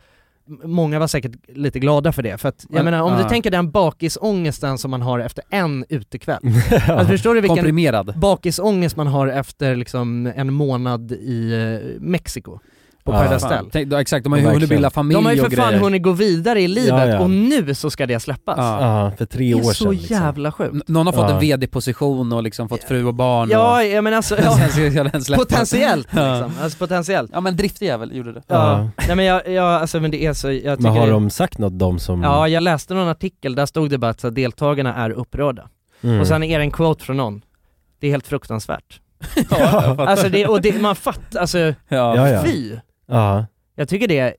Speaker 2: M- många var säkert lite glada för det, för att jag
Speaker 1: Men-
Speaker 2: menar om
Speaker 1: ja.
Speaker 2: du tänker den bakisångesten som man har efter en utekväll. alltså,
Speaker 3: (laughs)
Speaker 2: förstår du vilken
Speaker 1: Komprimerad.
Speaker 2: bakisångest man har efter liksom en månad i eh, Mexiko? På
Speaker 1: Ja.
Speaker 2: Paradise
Speaker 1: Fan.
Speaker 2: Hotel.
Speaker 1: Tänk- då- exakt, de har ju hunnit bilda familj
Speaker 2: De har ju för
Speaker 1: och
Speaker 2: fan
Speaker 1: grejer.
Speaker 2: hunnit gå vidare i livet
Speaker 1: Ja, ja.
Speaker 2: och nu så ska det släppas.
Speaker 3: för tre
Speaker 2: det är
Speaker 3: år
Speaker 2: så
Speaker 3: sedan. liksom.
Speaker 2: jävla sjukt.
Speaker 1: N- Någon har fått
Speaker 3: Ja.
Speaker 1: en VD-position och liksom fått fru och barn
Speaker 2: Ja,
Speaker 1: och...
Speaker 2: ja
Speaker 1: (laughs)
Speaker 2: men alltså, ja,
Speaker 1: Sen ska den släppas.
Speaker 2: potentiellt
Speaker 1: Ja.
Speaker 2: liksom. Alltså potentiellt.
Speaker 1: Ja men driftig jävel gjorde det.
Speaker 2: Ja. Nej men jag, jag, alltså men det är så, jag tycker
Speaker 3: Men har de sagt något de som...
Speaker 2: Ja, jag läste någon artikel, där stod det bara att så här, deltagarna är upprörda.
Speaker 3: Mm.
Speaker 2: Och sen är det en quote från någon. Det är helt fruktansvärt.
Speaker 3: (laughs)
Speaker 1: Ja, jag fattar.
Speaker 2: alltså det, och det, man fattar, alltså
Speaker 3: Ja, ja.
Speaker 2: fy.
Speaker 3: Ja.
Speaker 2: Jag tycker det,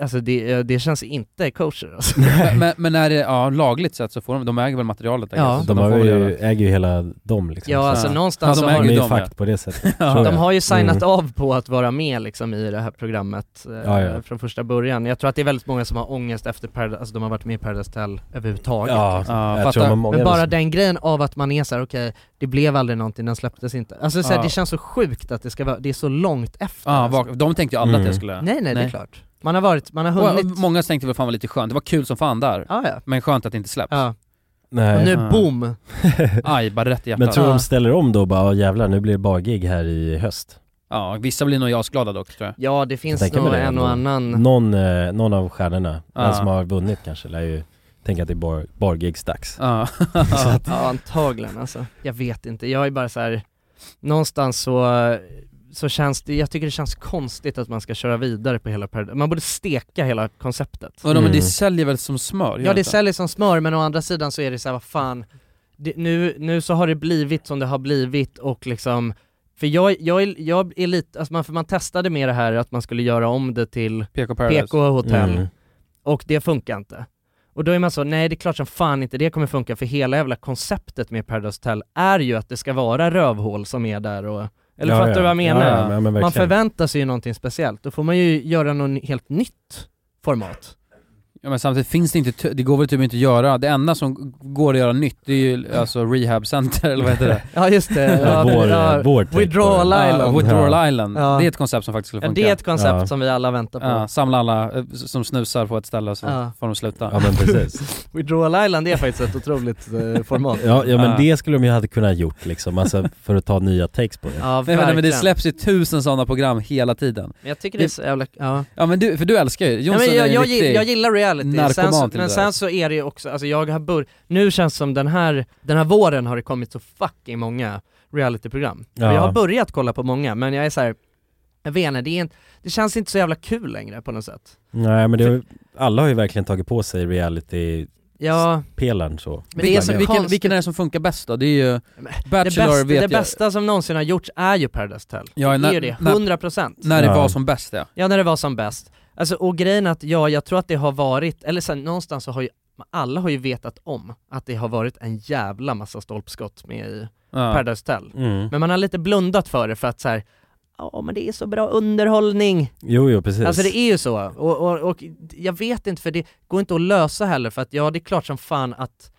Speaker 2: alltså det, det känns inte kosher alltså.
Speaker 3: (laughs)
Speaker 1: men, men är det, ja lagligt sett så får de, de äger väl materialet I
Speaker 2: Ja.
Speaker 1: guess. Så
Speaker 3: De,
Speaker 1: får
Speaker 3: har
Speaker 1: väl
Speaker 3: ju,
Speaker 1: göra-
Speaker 3: äger ju hela dem liksom.
Speaker 2: Ja, alltså någonstans
Speaker 3: ja,
Speaker 2: så
Speaker 3: de
Speaker 2: har
Speaker 3: äger
Speaker 2: de-
Speaker 3: ju
Speaker 2: de, ja.
Speaker 3: fakt på det sättet.
Speaker 1: Ja.
Speaker 3: tror
Speaker 2: De
Speaker 3: jag.
Speaker 2: har ju signat
Speaker 3: Mm.
Speaker 2: av på att vara med liksom i det här programmet eh,
Speaker 3: Ja, ja.
Speaker 2: från första början. Jag tror att det är väldigt många som har ångest efter Paradise, alltså de har varit med i Paradise Hotel överhuvudtaget.
Speaker 3: Ja,
Speaker 2: liksom.
Speaker 3: Ja, jag tror de har många
Speaker 2: Men bara
Speaker 3: som-
Speaker 2: den grejen av att man är såhär, okej, det blev aldrig någonting, den släpptes inte. Alltså så här,
Speaker 1: Ja.
Speaker 2: det känns så sjukt att det ska vara, det är så långt efter.
Speaker 1: Ja,
Speaker 2: alltså.
Speaker 1: vak- de tänkte ju alla att
Speaker 2: Mm.
Speaker 1: jag skulle...
Speaker 2: Nej, nej, det är klart. Man har varit, man har
Speaker 1: Och,
Speaker 2: hunnit.
Speaker 1: och många tänkte väl fan var lite skönt, det var kul som fan där.
Speaker 2: Ja, ja.
Speaker 1: Men skönt att det inte släpps.
Speaker 3: Nej. Och nu,
Speaker 1: Ah.
Speaker 2: boom.
Speaker 1: Aj, bara rätt i hjärtat.
Speaker 3: Men tror de ställer om då bara, "Ja, jävlar nu blir det bara gig här i höst?
Speaker 1: Ja, vissa blir nog jasglada dock tror jag.
Speaker 2: Ja, det finns
Speaker 3: Jag tänker
Speaker 2: nog
Speaker 3: mig det
Speaker 2: en
Speaker 3: ändå.
Speaker 2: och
Speaker 3: (laughs)
Speaker 2: annan.
Speaker 3: Någon, eh, någon av stjärnorna,
Speaker 1: Ja.
Speaker 3: den som har vunnit kanske, lär ju tänka att det är bar- bargigs-dags.
Speaker 1: Ja.
Speaker 3: Så att-
Speaker 2: Ja antagligen alltså. Jag vet inte, jag är bara så här. någonstans så, så känns det, jag tycker det känns konstigt att man ska köra vidare på hela Paradise, man borde steka hela konceptet.
Speaker 1: Vadå, men det säljer väl som smör? gör
Speaker 2: Ja det
Speaker 1: inte?
Speaker 2: säljer som smör men å andra sidan så är det så här, vad fan det, nu, nu så har det blivit som det har blivit och liksom för jag, jag, är, jag är lite, alltså man, för man testade med det här att man skulle göra om det till
Speaker 14: PK Paradise.
Speaker 2: PK-hotell
Speaker 14: Mm.
Speaker 2: och det funkar inte. Och då är man så, nej det är klart som fan inte det kommer funka för hela jävla konceptet med Paradise Hotel är ju att det ska vara rövhål som är där och eller
Speaker 3: Ja,
Speaker 2: fattar du
Speaker 3: ja.
Speaker 2: vad jag menar?
Speaker 3: Ja, ja, men- men
Speaker 2: man
Speaker 3: verkligen.
Speaker 2: förväntar sig ju någonting speciellt, då får man ju göra något helt nytt format.
Speaker 1: Ja men samtidigt finns det inte, ty- det går väl typ inte att göra, det enda som går att göra nytt det är ju alltså rehabcenter eller vad heter det?
Speaker 2: Ja, just
Speaker 3: (laughs)
Speaker 2: det. Ja, Ja, vår- ja, vår take på det. Withdrawal Island.
Speaker 1: withdrawal
Speaker 2: Ja.
Speaker 1: Island,
Speaker 2: Ja.
Speaker 1: det är ett koncept som faktiskt skulle
Speaker 2: Ja,
Speaker 1: funka.
Speaker 2: det är ett koncept Ja. som vi alla väntar på.
Speaker 1: Ja, samla alla eh, s- som snusar på ett ställe och så
Speaker 2: Ja.
Speaker 1: får de sluta.
Speaker 3: Ja, men precis.
Speaker 2: Withdrawal Island är faktiskt ett otroligt
Speaker 1: (laughs)
Speaker 2: eh, format.
Speaker 3: Ja,
Speaker 2: (laughs)
Speaker 3: ja men
Speaker 1: Ah.
Speaker 3: det skulle de ju ha kunnat gjort liksom, alltså för att ta nya takes på det.
Speaker 1: Nej,
Speaker 2: Ja,
Speaker 1: men, men det
Speaker 2: verkligen.
Speaker 1: släpps ju tusen sådana program hela tiden.
Speaker 2: Men jag tycker det är så jävla, ja.
Speaker 1: Ja men du, för du älskar ju,
Speaker 2: Ja,
Speaker 1: Jonsson
Speaker 2: men jag,
Speaker 1: är en
Speaker 2: jag,
Speaker 1: riktig
Speaker 2: gi- jag gillar reality, sen
Speaker 1: narkoman
Speaker 2: så,
Speaker 1: till
Speaker 2: men
Speaker 1: det
Speaker 2: sen
Speaker 1: där.
Speaker 2: så är det ju också, alltså jag har bör- nu känns det som den här, den här våren har det kommit så fucking många realityprogram. Och
Speaker 1: Ja.
Speaker 2: Jag har börjat kolla på många, men jag är så här, jag vet inte, det, är en, det känns inte så jävla kul längre på något sätt.
Speaker 3: Nej men det, har ju- alla har ju verkligen tagit på sig
Speaker 2: Ja.
Speaker 3: reality-pelaren så.
Speaker 2: Men det är så
Speaker 1: vilken,
Speaker 2: konstigt.
Speaker 1: vilken är det som funkar bäst då? Det är ju Bachelor
Speaker 2: det bästa,
Speaker 1: vet
Speaker 2: det
Speaker 1: jag.
Speaker 2: bästa som någonsin har gjorts är ju Paradise Hotel.
Speaker 1: Ja,
Speaker 2: det
Speaker 1: när-
Speaker 2: är ju det,
Speaker 1: när-
Speaker 2: 100%.
Speaker 1: när det var som bäst ja.
Speaker 2: Ja, när det var som bäst. Alltså, och grejen är att ja, jag tror att det har varit, eller sen någonstans så har ju alla har ju vetat om att det har varit en jävla massa stolpskott med i Paradise Hotel.
Speaker 3: Mm.
Speaker 2: Men man har lite blundat för det för att så här, ja men det är så bra underhållning.
Speaker 3: Jo, jo precis.
Speaker 2: Alltså det är ju så, och, och, och jag vet inte för det går inte att lösa heller för att ja det är klart som fan att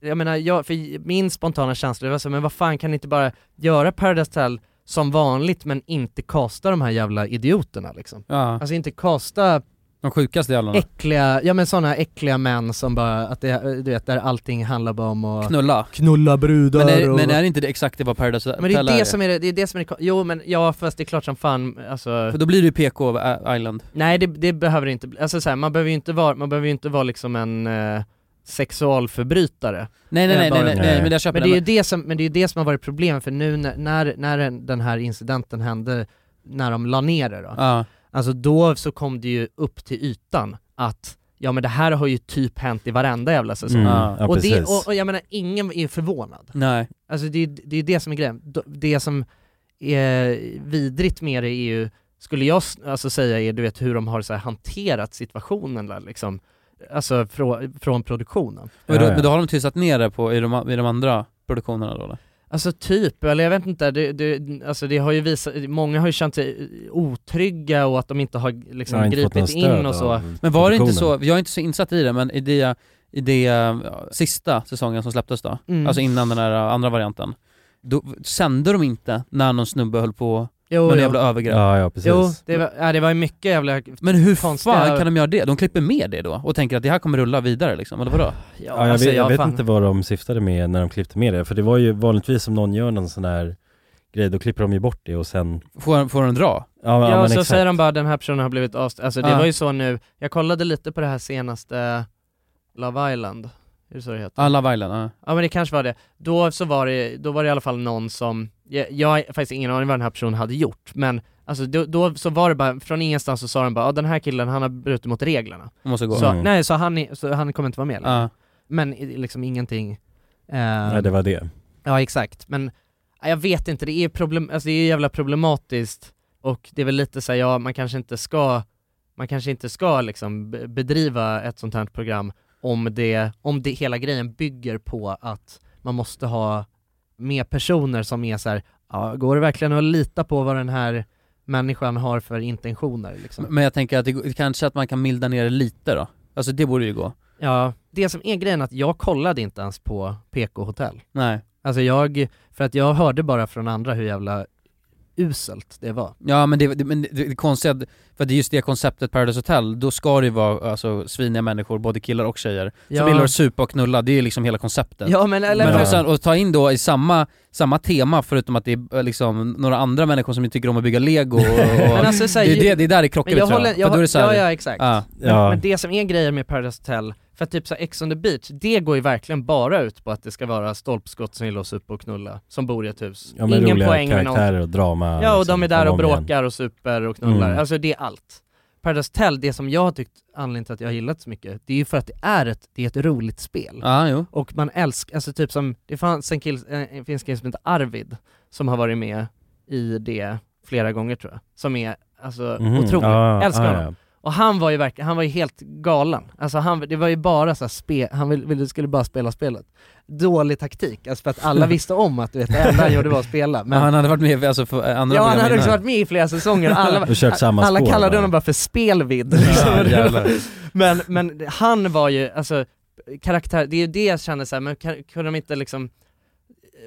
Speaker 2: jag menar, jag, för min spontana känsla det var så, men vad fan kan ni inte bara göra Paradise Hotel som vanligt men inte kasta de här jävla idioterna liksom?
Speaker 1: Ja.
Speaker 2: Alltså inte kasta
Speaker 1: De sjukaste jävlarna.
Speaker 2: äckliga, ja men sådana äckliga män som bara, att det, du vet där allting handlar bara om att
Speaker 1: Knulla.
Speaker 2: Knulla brudar
Speaker 1: men är,
Speaker 2: och-
Speaker 1: men är det inte det exakt det vad Paradise
Speaker 2: Men det är
Speaker 1: Hotel
Speaker 2: det som är det, det är det som är det, jo men ja fast det är klart som fan alltså
Speaker 1: För då blir det ju PK eh, Island.
Speaker 2: Nej det, det behöver inte bli, alltså så här, man behöver ju inte vara, man behöver ju inte vara liksom en eh, sexualförbrytare
Speaker 1: Nej, nej, nej,
Speaker 2: Bara-
Speaker 1: nej, nej, nej, men jag köper
Speaker 2: men det,
Speaker 1: det.
Speaker 2: är ju det som, men det är ju det som har varit problemet för nu när, när, när den- den här incidenten hände, när de la ner det då
Speaker 1: Ja.
Speaker 2: Alltså då så kom det ju upp till ytan att Ja men det här har ju typ hänt i varenda jävla säsong.
Speaker 1: Mm, ja,
Speaker 2: och, det,
Speaker 1: precis.
Speaker 2: och, och jag menar, ingen är förvånad.
Speaker 1: Nej.
Speaker 2: Alltså det är ju det, är det som är grejen. D- Det som är vidrigt med det är ju, skulle jag s- alltså säga är du vet hur de har så här hanterat situationen där liksom. Alltså från, från produktionen.
Speaker 1: Men då, men då har de tystat ner det på, i, de, i de andra produktionerna då eller?
Speaker 2: Alltså typ, eller jag vet inte, det, det, alltså det har ju visat, många har ju känt sig otrygga och att de inte har liksom gripit in och så.
Speaker 1: Men var det inte så, jag är inte så insatt i det, men i det, i det eh, sista säsongen som släpptes då,
Speaker 2: Mm.
Speaker 1: alltså innan den här eh, andra varianten, då sände de inte när någon snubbe höll på
Speaker 2: Jo,
Speaker 1: med
Speaker 2: jo.
Speaker 1: en jävla övergrepp?
Speaker 3: Ja, ja, precis.
Speaker 2: Jo, det var, ja, det var ju mycket jävla
Speaker 1: Men hur
Speaker 2: konstiga-
Speaker 1: fan kan de göra det? De klipper med det då och tänker att det här kommer rulla vidare liksom, eller vadå?
Speaker 3: Ja, jag
Speaker 2: Alltså,
Speaker 3: vet, jag vet inte vad de syftade med när de klippte med det, för det var ju vanligtvis om någon gör någon sån här grej, då klipper de ju bort det och sen...
Speaker 1: Får, får de dra?
Speaker 3: Ja, men-
Speaker 2: Ja,
Speaker 3: ja, men
Speaker 2: så
Speaker 3: exakt.
Speaker 2: säger de bara den här personen har blivit avstängd, alltså det
Speaker 1: Ja.
Speaker 2: var ju så nu, jag kollade lite på det här senaste Love Island, är det så det heter?
Speaker 1: Alla Vailen, ja.
Speaker 2: Ja men det kanske var det. Då så var det, då var det i alla fall någon som, jag, jag har faktiskt ingen aning vad den här personen hade gjort, men alltså då, då så var det bara, från ingenstans så sa de bara "Ja, den här killen han har brutit mot reglerna.
Speaker 1: De måste gå. Ah.
Speaker 2: Så,
Speaker 1: Mm.
Speaker 2: Nej, så han, är- så han kommer inte vara med längre.
Speaker 1: Ja.
Speaker 2: Men i- liksom ingenting. eh,
Speaker 3: Nej, det var det.
Speaker 2: Ja exakt, men ja, jag vet inte, det är problem, alltså det är jävla problematiskt och det är väl lite såhär, ja man kanske inte ska, man kanske inte ska liksom be- bedriva ett sånt här program om det, om det hela grejen bygger på att man måste ha med personer som är såhär, ja går det verkligen att lita på vad den här människan har för intentioner liksom?
Speaker 1: Men jag tänker att det, går- kanske att man kan milda ner det lite då? Alltså det borde ju gå.
Speaker 2: Ja, det som är grejen är att jag kollade inte ens på PK-hotell.
Speaker 1: Nej.
Speaker 2: Alltså jag, för att jag hörde bara från andra hur jävla uselt det var.
Speaker 1: Ja men det, det, men det, det konstiga, för det är just det konceptet Paradise Hotel, då ska det ju vara alltså, sviniga människor, både killar och tjejer,
Speaker 2: Ja.
Speaker 1: som gillar att supa och knulla, det är ju liksom hela konceptet.
Speaker 2: Ja, men- eller-
Speaker 1: men alltså,
Speaker 2: Ja.
Speaker 1: och, sen, och ta in då i samma, samma tema, förutom att det är eh, liksom några andra människor som tycker om att bygga
Speaker 2: (laughs)
Speaker 1: lego och, och
Speaker 2: Men alltså, så här,
Speaker 1: det, är ju
Speaker 2: ju-
Speaker 1: det, det är där det krockar
Speaker 2: men jag
Speaker 1: lite, tror
Speaker 2: håller,
Speaker 1: För då är det så här-
Speaker 2: Ja, ja exakt.
Speaker 1: Ja.
Speaker 2: Men, men det som är grejen med Paradise Hotel, för att typ så här Ex on the beach, det går ju verkligen bara ut på att det ska vara stolpskott som gillar att supa och knulla, som bor i ett hus.
Speaker 3: Ja, men
Speaker 2: Ingen
Speaker 3: roliga
Speaker 2: poäng med
Speaker 3: karaktärer
Speaker 2: någon.
Speaker 3: och drama,
Speaker 2: Ja och
Speaker 3: liksom,
Speaker 2: de är där
Speaker 3: om
Speaker 2: och
Speaker 3: och om igen.
Speaker 2: bråkar och super och knullar,
Speaker 3: Mm.
Speaker 2: alltså det är allt. Paradise Hotel, det som jag har tyckt, anledningen till att jag har gillat så mycket, det är ju för att det är ett, det är ett roligt spel.
Speaker 15: Ja, jo.
Speaker 2: Och man älskar, alltså typ som, det fanns en kille, eh, det finns en kille som heter Arvid, som har varit med i det flera gånger tror jag, som är alltså
Speaker 16: Mhm,
Speaker 2: otrolig,
Speaker 16: ja,
Speaker 2: älskar
Speaker 16: ja,
Speaker 2: honom. Och han var ju verkligen, han var ju helt galen. Alltså han, det var ju bara så här spe, han ville, ville, skulle bara spela spelet. Dålig taktik, alltså för
Speaker 15: (laughs)
Speaker 2: att alla visste om att du vet, det enda han gjorde var att spela.
Speaker 15: Men han hade varit med i, alltså, för eh, andra
Speaker 2: Ja han
Speaker 15: program
Speaker 2: hade också
Speaker 15: innan.
Speaker 2: varit med i flera säsonger
Speaker 15: (laughs)
Speaker 2: och alla,
Speaker 15: Och kört samma
Speaker 2: alla
Speaker 15: spår,
Speaker 2: kallade
Speaker 15: va?
Speaker 2: honom bara för spelvidd (laughs) liksom.
Speaker 15: Ja, jävlar.
Speaker 2: men, men han var ju, alltså karaktär, det är ju det jag känner såhär, men kan, kunde de inte liksom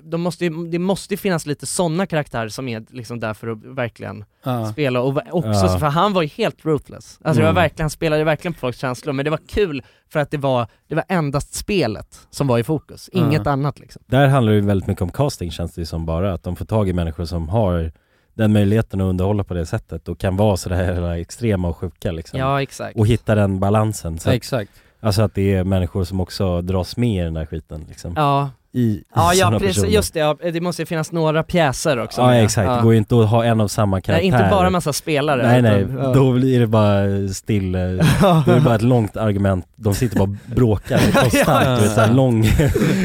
Speaker 2: de måste ju, det måste ju finnas lite sådana karaktärer som är liksom där för att verkligen
Speaker 15: Ja.
Speaker 2: spela och va- också,
Speaker 15: Ja.
Speaker 2: för han var ju helt ruthless. Alltså det
Speaker 15: Mm.
Speaker 2: var verkligen, han spelade verkligen på folks känslor, men det var kul för att det var, det var endast spelet som var i fokus, inget
Speaker 16: Ja.
Speaker 2: annat liksom.
Speaker 3: Där handlar det ju väldigt mycket om casting känns det ju som bara, att de får tag i människor som har den möjligheten att underhålla på det sättet och kan vara sådär hela extrema och sjuka liksom.
Speaker 2: Ja, exakt.
Speaker 3: Och hitta den balansen.
Speaker 2: Ja,
Speaker 3: att-
Speaker 2: exakt.
Speaker 3: Alltså att det är människor som också dras med i den där skiten liksom.
Speaker 2: Ja.
Speaker 3: I, i
Speaker 2: Ja, ja
Speaker 3: sådana
Speaker 2: precis,
Speaker 3: personer.
Speaker 2: just det, ja, det måste ju finnas några pjäser också.
Speaker 3: Ja
Speaker 2: med.
Speaker 3: exakt,
Speaker 2: Ja.
Speaker 3: det går ju inte att ha en av samma karaktär.
Speaker 2: Nej, inte bara massa spelare,
Speaker 3: Nej nej,
Speaker 2: utan- ja.
Speaker 3: då blir det bara still, eh, då är det bara ett långt argument, de sitter bara och bråkar
Speaker 16: (laughs) Ja,
Speaker 3: konstant,
Speaker 16: ja.
Speaker 3: du vet, så
Speaker 16: (laughs)
Speaker 3: här lång,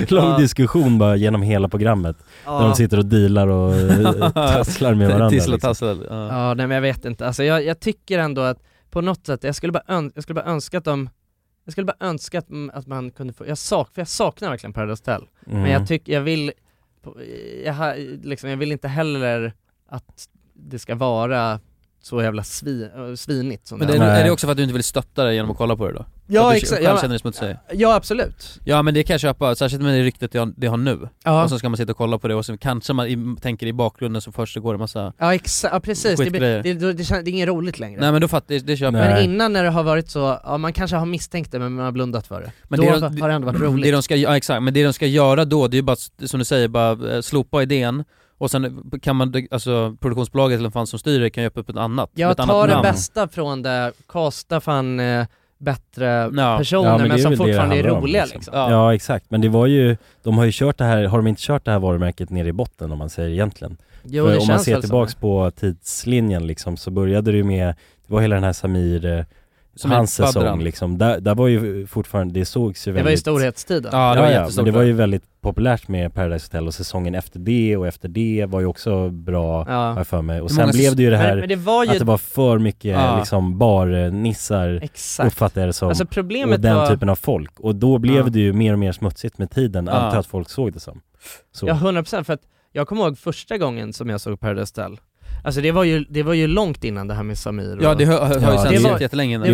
Speaker 3: lång
Speaker 16: Ja.
Speaker 3: diskussion bara genom hela programmet.
Speaker 2: Ja.
Speaker 3: Där de sitter och dealar
Speaker 16: (laughs)
Speaker 3: och eh, tasslar med varandra. liksom.
Speaker 2: Ja, nej men jag vet inte. Alltså jag, jag tycker ändå att på något sätt, jag skulle bara, ön- jag skulle bara önska att de jag skulle bara önska att, m- att man kunde få, jag sak, för jag saknar verkligen Paradise Hotel.
Speaker 16: Mm.
Speaker 2: Men jag tycker, jag vill, på- jag, ha- liksom, jag vill inte heller att det ska vara så jävla svi, äh, svinigt som
Speaker 1: Men det är,
Speaker 2: här.
Speaker 1: är det också för att du inte vill stötta dig genom att kolla på det då?
Speaker 2: Ja,
Speaker 1: För att du
Speaker 2: exakt.
Speaker 1: själv
Speaker 2: Ja,
Speaker 1: känner dig smutsig?
Speaker 2: Ja absolut.
Speaker 1: Ja men det kan jag köpa, särskilt med det ryktet jag, det har nu.
Speaker 2: Ja.
Speaker 1: Och så ska man sitta och kolla på det och sen kanske man i, tänker i bakgrunden så först så går det massa...
Speaker 2: Ja exakt, ja, precis. Det, blir-
Speaker 1: Skitgrejer.
Speaker 2: det, det, det, kän- det är inget roligt längre.
Speaker 1: Nej men då fattar jag, det köper jag.
Speaker 2: Men innan när det har varit så, ja man kanske har misstänkt det men man har blundat för det.
Speaker 1: Men
Speaker 2: Då
Speaker 1: det,
Speaker 2: har det ändå varit
Speaker 1: (clears throat)
Speaker 2: roligt.
Speaker 1: Mm. Det de ska, ja, exakt, men det de ska göra då det är ju bara, som du säger, bara eh, slopa idén och sen eh, kan man, alltså produktionsbolaget eller vad fan som styr det kan ju öppna upp ett annat
Speaker 2: Jag
Speaker 1: ett annat
Speaker 2: tar det
Speaker 1: namn.
Speaker 2: bästa från det, kasta fan eh, bättre personer
Speaker 3: Ja,
Speaker 2: men,
Speaker 3: det är
Speaker 2: som
Speaker 3: väl det det
Speaker 2: fortfarande är
Speaker 3: handlar om,
Speaker 2: roliga liksom.
Speaker 3: Ja. exakt, men det var ju, de har ju kört det här, har de inte kört det här varumärket ner i botten om man säger egentligen?
Speaker 2: Jo,
Speaker 3: För
Speaker 2: det
Speaker 3: om man
Speaker 2: känns
Speaker 3: ser
Speaker 2: väl så.
Speaker 3: tillbaks på tidslinjen liksom, så började det ju med, det var hela den här Samir, eh,
Speaker 2: Som är
Speaker 3: hans
Speaker 2: Badran.
Speaker 3: säsong liksom, där, där var ju fortfarande, det sågs
Speaker 2: Det
Speaker 3: ju
Speaker 2: var ju
Speaker 3: väldigt
Speaker 2: storhetstiden.
Speaker 3: Ja, det var, ja, men
Speaker 2: jättestort
Speaker 3: det var
Speaker 2: då.
Speaker 3: ju väldigt populärt med Paradise Hotel och säsongen efter det och efter det var ju också bra,
Speaker 2: Ja.
Speaker 3: har jag för mig. Och
Speaker 2: Hur
Speaker 3: sen
Speaker 2: många
Speaker 3: blev det ju det
Speaker 2: säs-
Speaker 3: här
Speaker 2: Men- men det var ju-
Speaker 3: att det var för mycket
Speaker 2: Ja.
Speaker 3: liksom barnissar,
Speaker 2: Exakt.
Speaker 3: uppfattar jag det som.
Speaker 2: Alltså, problemet
Speaker 3: och den
Speaker 2: var-
Speaker 3: typen av folk. Och då blev
Speaker 2: Ja.
Speaker 3: det ju mer och mer smutsigt med tiden,
Speaker 2: Ja.
Speaker 3: antar jag att folk såg det som. Så.
Speaker 2: Ja, 100% för att jag kommer ihåg första gången som jag såg Paradise Hotel. Alltså det var ju, det var ju långt innan det här med Samir och...
Speaker 1: Ja, det har- har ju
Speaker 3: Ja,
Speaker 2: Det
Speaker 3: det-
Speaker 2: var-
Speaker 3: det
Speaker 2: Det var
Speaker 3: är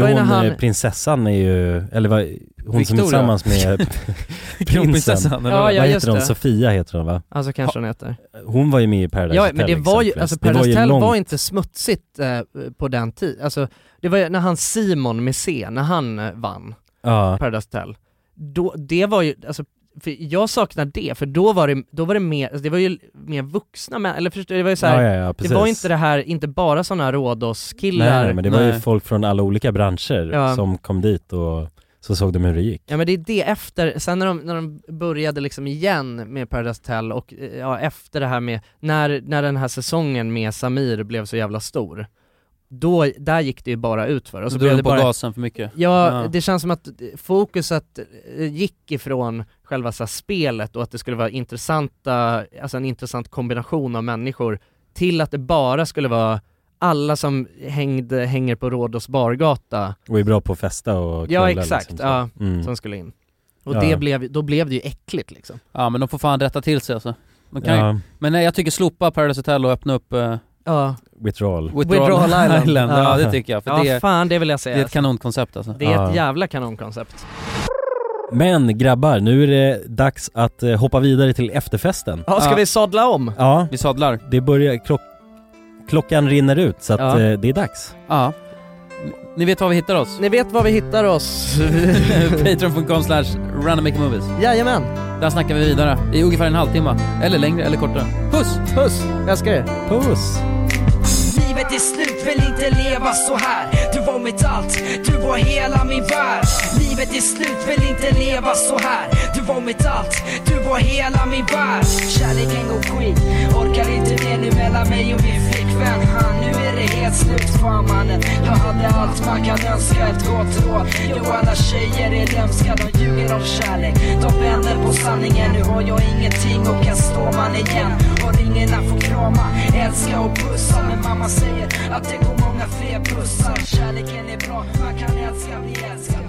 Speaker 2: ju när
Speaker 3: hon,
Speaker 2: han...
Speaker 3: eh, prinsessan är ju, eller vad, hon som är
Speaker 2: Victoria. (laughs)
Speaker 3: tillsammans med
Speaker 1: (laughs)
Speaker 2: Kronprinsessan,
Speaker 3: prinsen.
Speaker 2: eller Ja, vad? ja,
Speaker 3: vad
Speaker 2: just
Speaker 3: heter hon?
Speaker 2: det.
Speaker 3: Sofia heter hon va?
Speaker 2: Ja, så kanske hon heter.
Speaker 3: Hon var ju med i Paradise
Speaker 2: Ja,
Speaker 3: Hotel
Speaker 2: men det var ju,
Speaker 3: exempelvis.
Speaker 2: alltså
Speaker 3: Det
Speaker 2: Paradise
Speaker 3: ju
Speaker 2: Hotel var,
Speaker 3: långt
Speaker 2: inte smutsigt eh, på den tiden. Alltså, det var ju när han Simon med C, när han eh, vann
Speaker 3: Ja.
Speaker 2: Paradise Hotel. Då, det var ju, alltså, för jag saknar det, för då var det, då var det mer, alltså, det var ju mer vuxna män, eller förstår du? Det var ju så här,
Speaker 3: Ja, ja, ja,
Speaker 2: det var
Speaker 3: precis.
Speaker 2: inte det här, inte bara sådana
Speaker 3: Nej,
Speaker 2: Rhodos-killar.
Speaker 3: nej, men det var ju folk från alla olika branscher
Speaker 2: Ja.
Speaker 3: som kom dit och så såg de hur det gick.
Speaker 2: Ja men det är det efter, sen när de, när de började liksom igen med Paradise Hotel och eh, ja, efter det här med, när, när den här säsongen med Samir blev så jävla stor, då, där gick det ju bara utför.
Speaker 1: Och så
Speaker 2: blev
Speaker 1: drog
Speaker 2: det
Speaker 1: de på
Speaker 2: bara,
Speaker 1: gasen för mycket.
Speaker 2: Ja,
Speaker 1: Ja.
Speaker 2: det känns som att fokuset eh, gick ifrån själva så här spelet och att det skulle vara intressanta, alltså en intressant kombination av människor till att det bara skulle vara alla som hängde, hänger på Rhodos bargata
Speaker 3: Och är bra på att festa och
Speaker 2: Ja
Speaker 3: knulla,
Speaker 2: exakt,
Speaker 3: liksom, så.
Speaker 2: ja,
Speaker 3: Mm.
Speaker 2: som skulle in. Och
Speaker 3: Ja.
Speaker 2: det blev, då blev det ju äckligt liksom.
Speaker 1: Ja men de får fan rätta till sig alltså. De kan
Speaker 3: Ja.
Speaker 1: ju, men nej, jag tycker slopa Paradise Hotel och öppna upp eh,
Speaker 2: Ja.
Speaker 3: Withdrawal.
Speaker 1: Withdrawal Island. Ja. det tycker jag. För
Speaker 2: ja,
Speaker 1: det, är-
Speaker 2: fan det vill jag säga.
Speaker 1: Det är ett kanonkoncept alltså.
Speaker 2: Det är
Speaker 3: Ja.
Speaker 2: ett jävla kanonkoncept.
Speaker 3: Men grabbar, nu är det dags att eh, hoppa vidare till efterfesten.
Speaker 2: Ja, ska vi sadla om?
Speaker 3: Ja.
Speaker 1: Vi sadlar.
Speaker 3: Det börjar, klock, klockan rinner ut så att
Speaker 2: Ja.
Speaker 3: eh, det är dags.
Speaker 1: Ja. Ni vet var vi hittar (laughs) oss?
Speaker 2: Ni vet var vi hittar (laughs) oss.
Speaker 1: Patreon.com slash randommakemovies.
Speaker 2: Jajamän.
Speaker 1: Där snackar vi vidare i ungefär en halvtimme. Eller längre, eller kortare. Puss!
Speaker 2: Puss! Älskar er.
Speaker 3: Puss!
Speaker 17: Livet är slut, vill inte leva så här Du var mitt allt, du var hela min värld Livet är slut, vill inte leva så här Du var mitt allt, du var hela min värld Kärleken går skit, orkar inte det nu mellan mig och min flickvän Han, nu är det
Speaker 7: det helt slut för mannen Jag hade allt man kan önska, ett gott råd Jo alla tjejer är lömska, de ljuger om kärlek De vänder på sanningen, nu har jag ingenting och kan stå man igen Har ingen att få krama, älska och pussa Men mamma säger att det går många fler pussar Kärleken är bra, man kan älska, bli älskad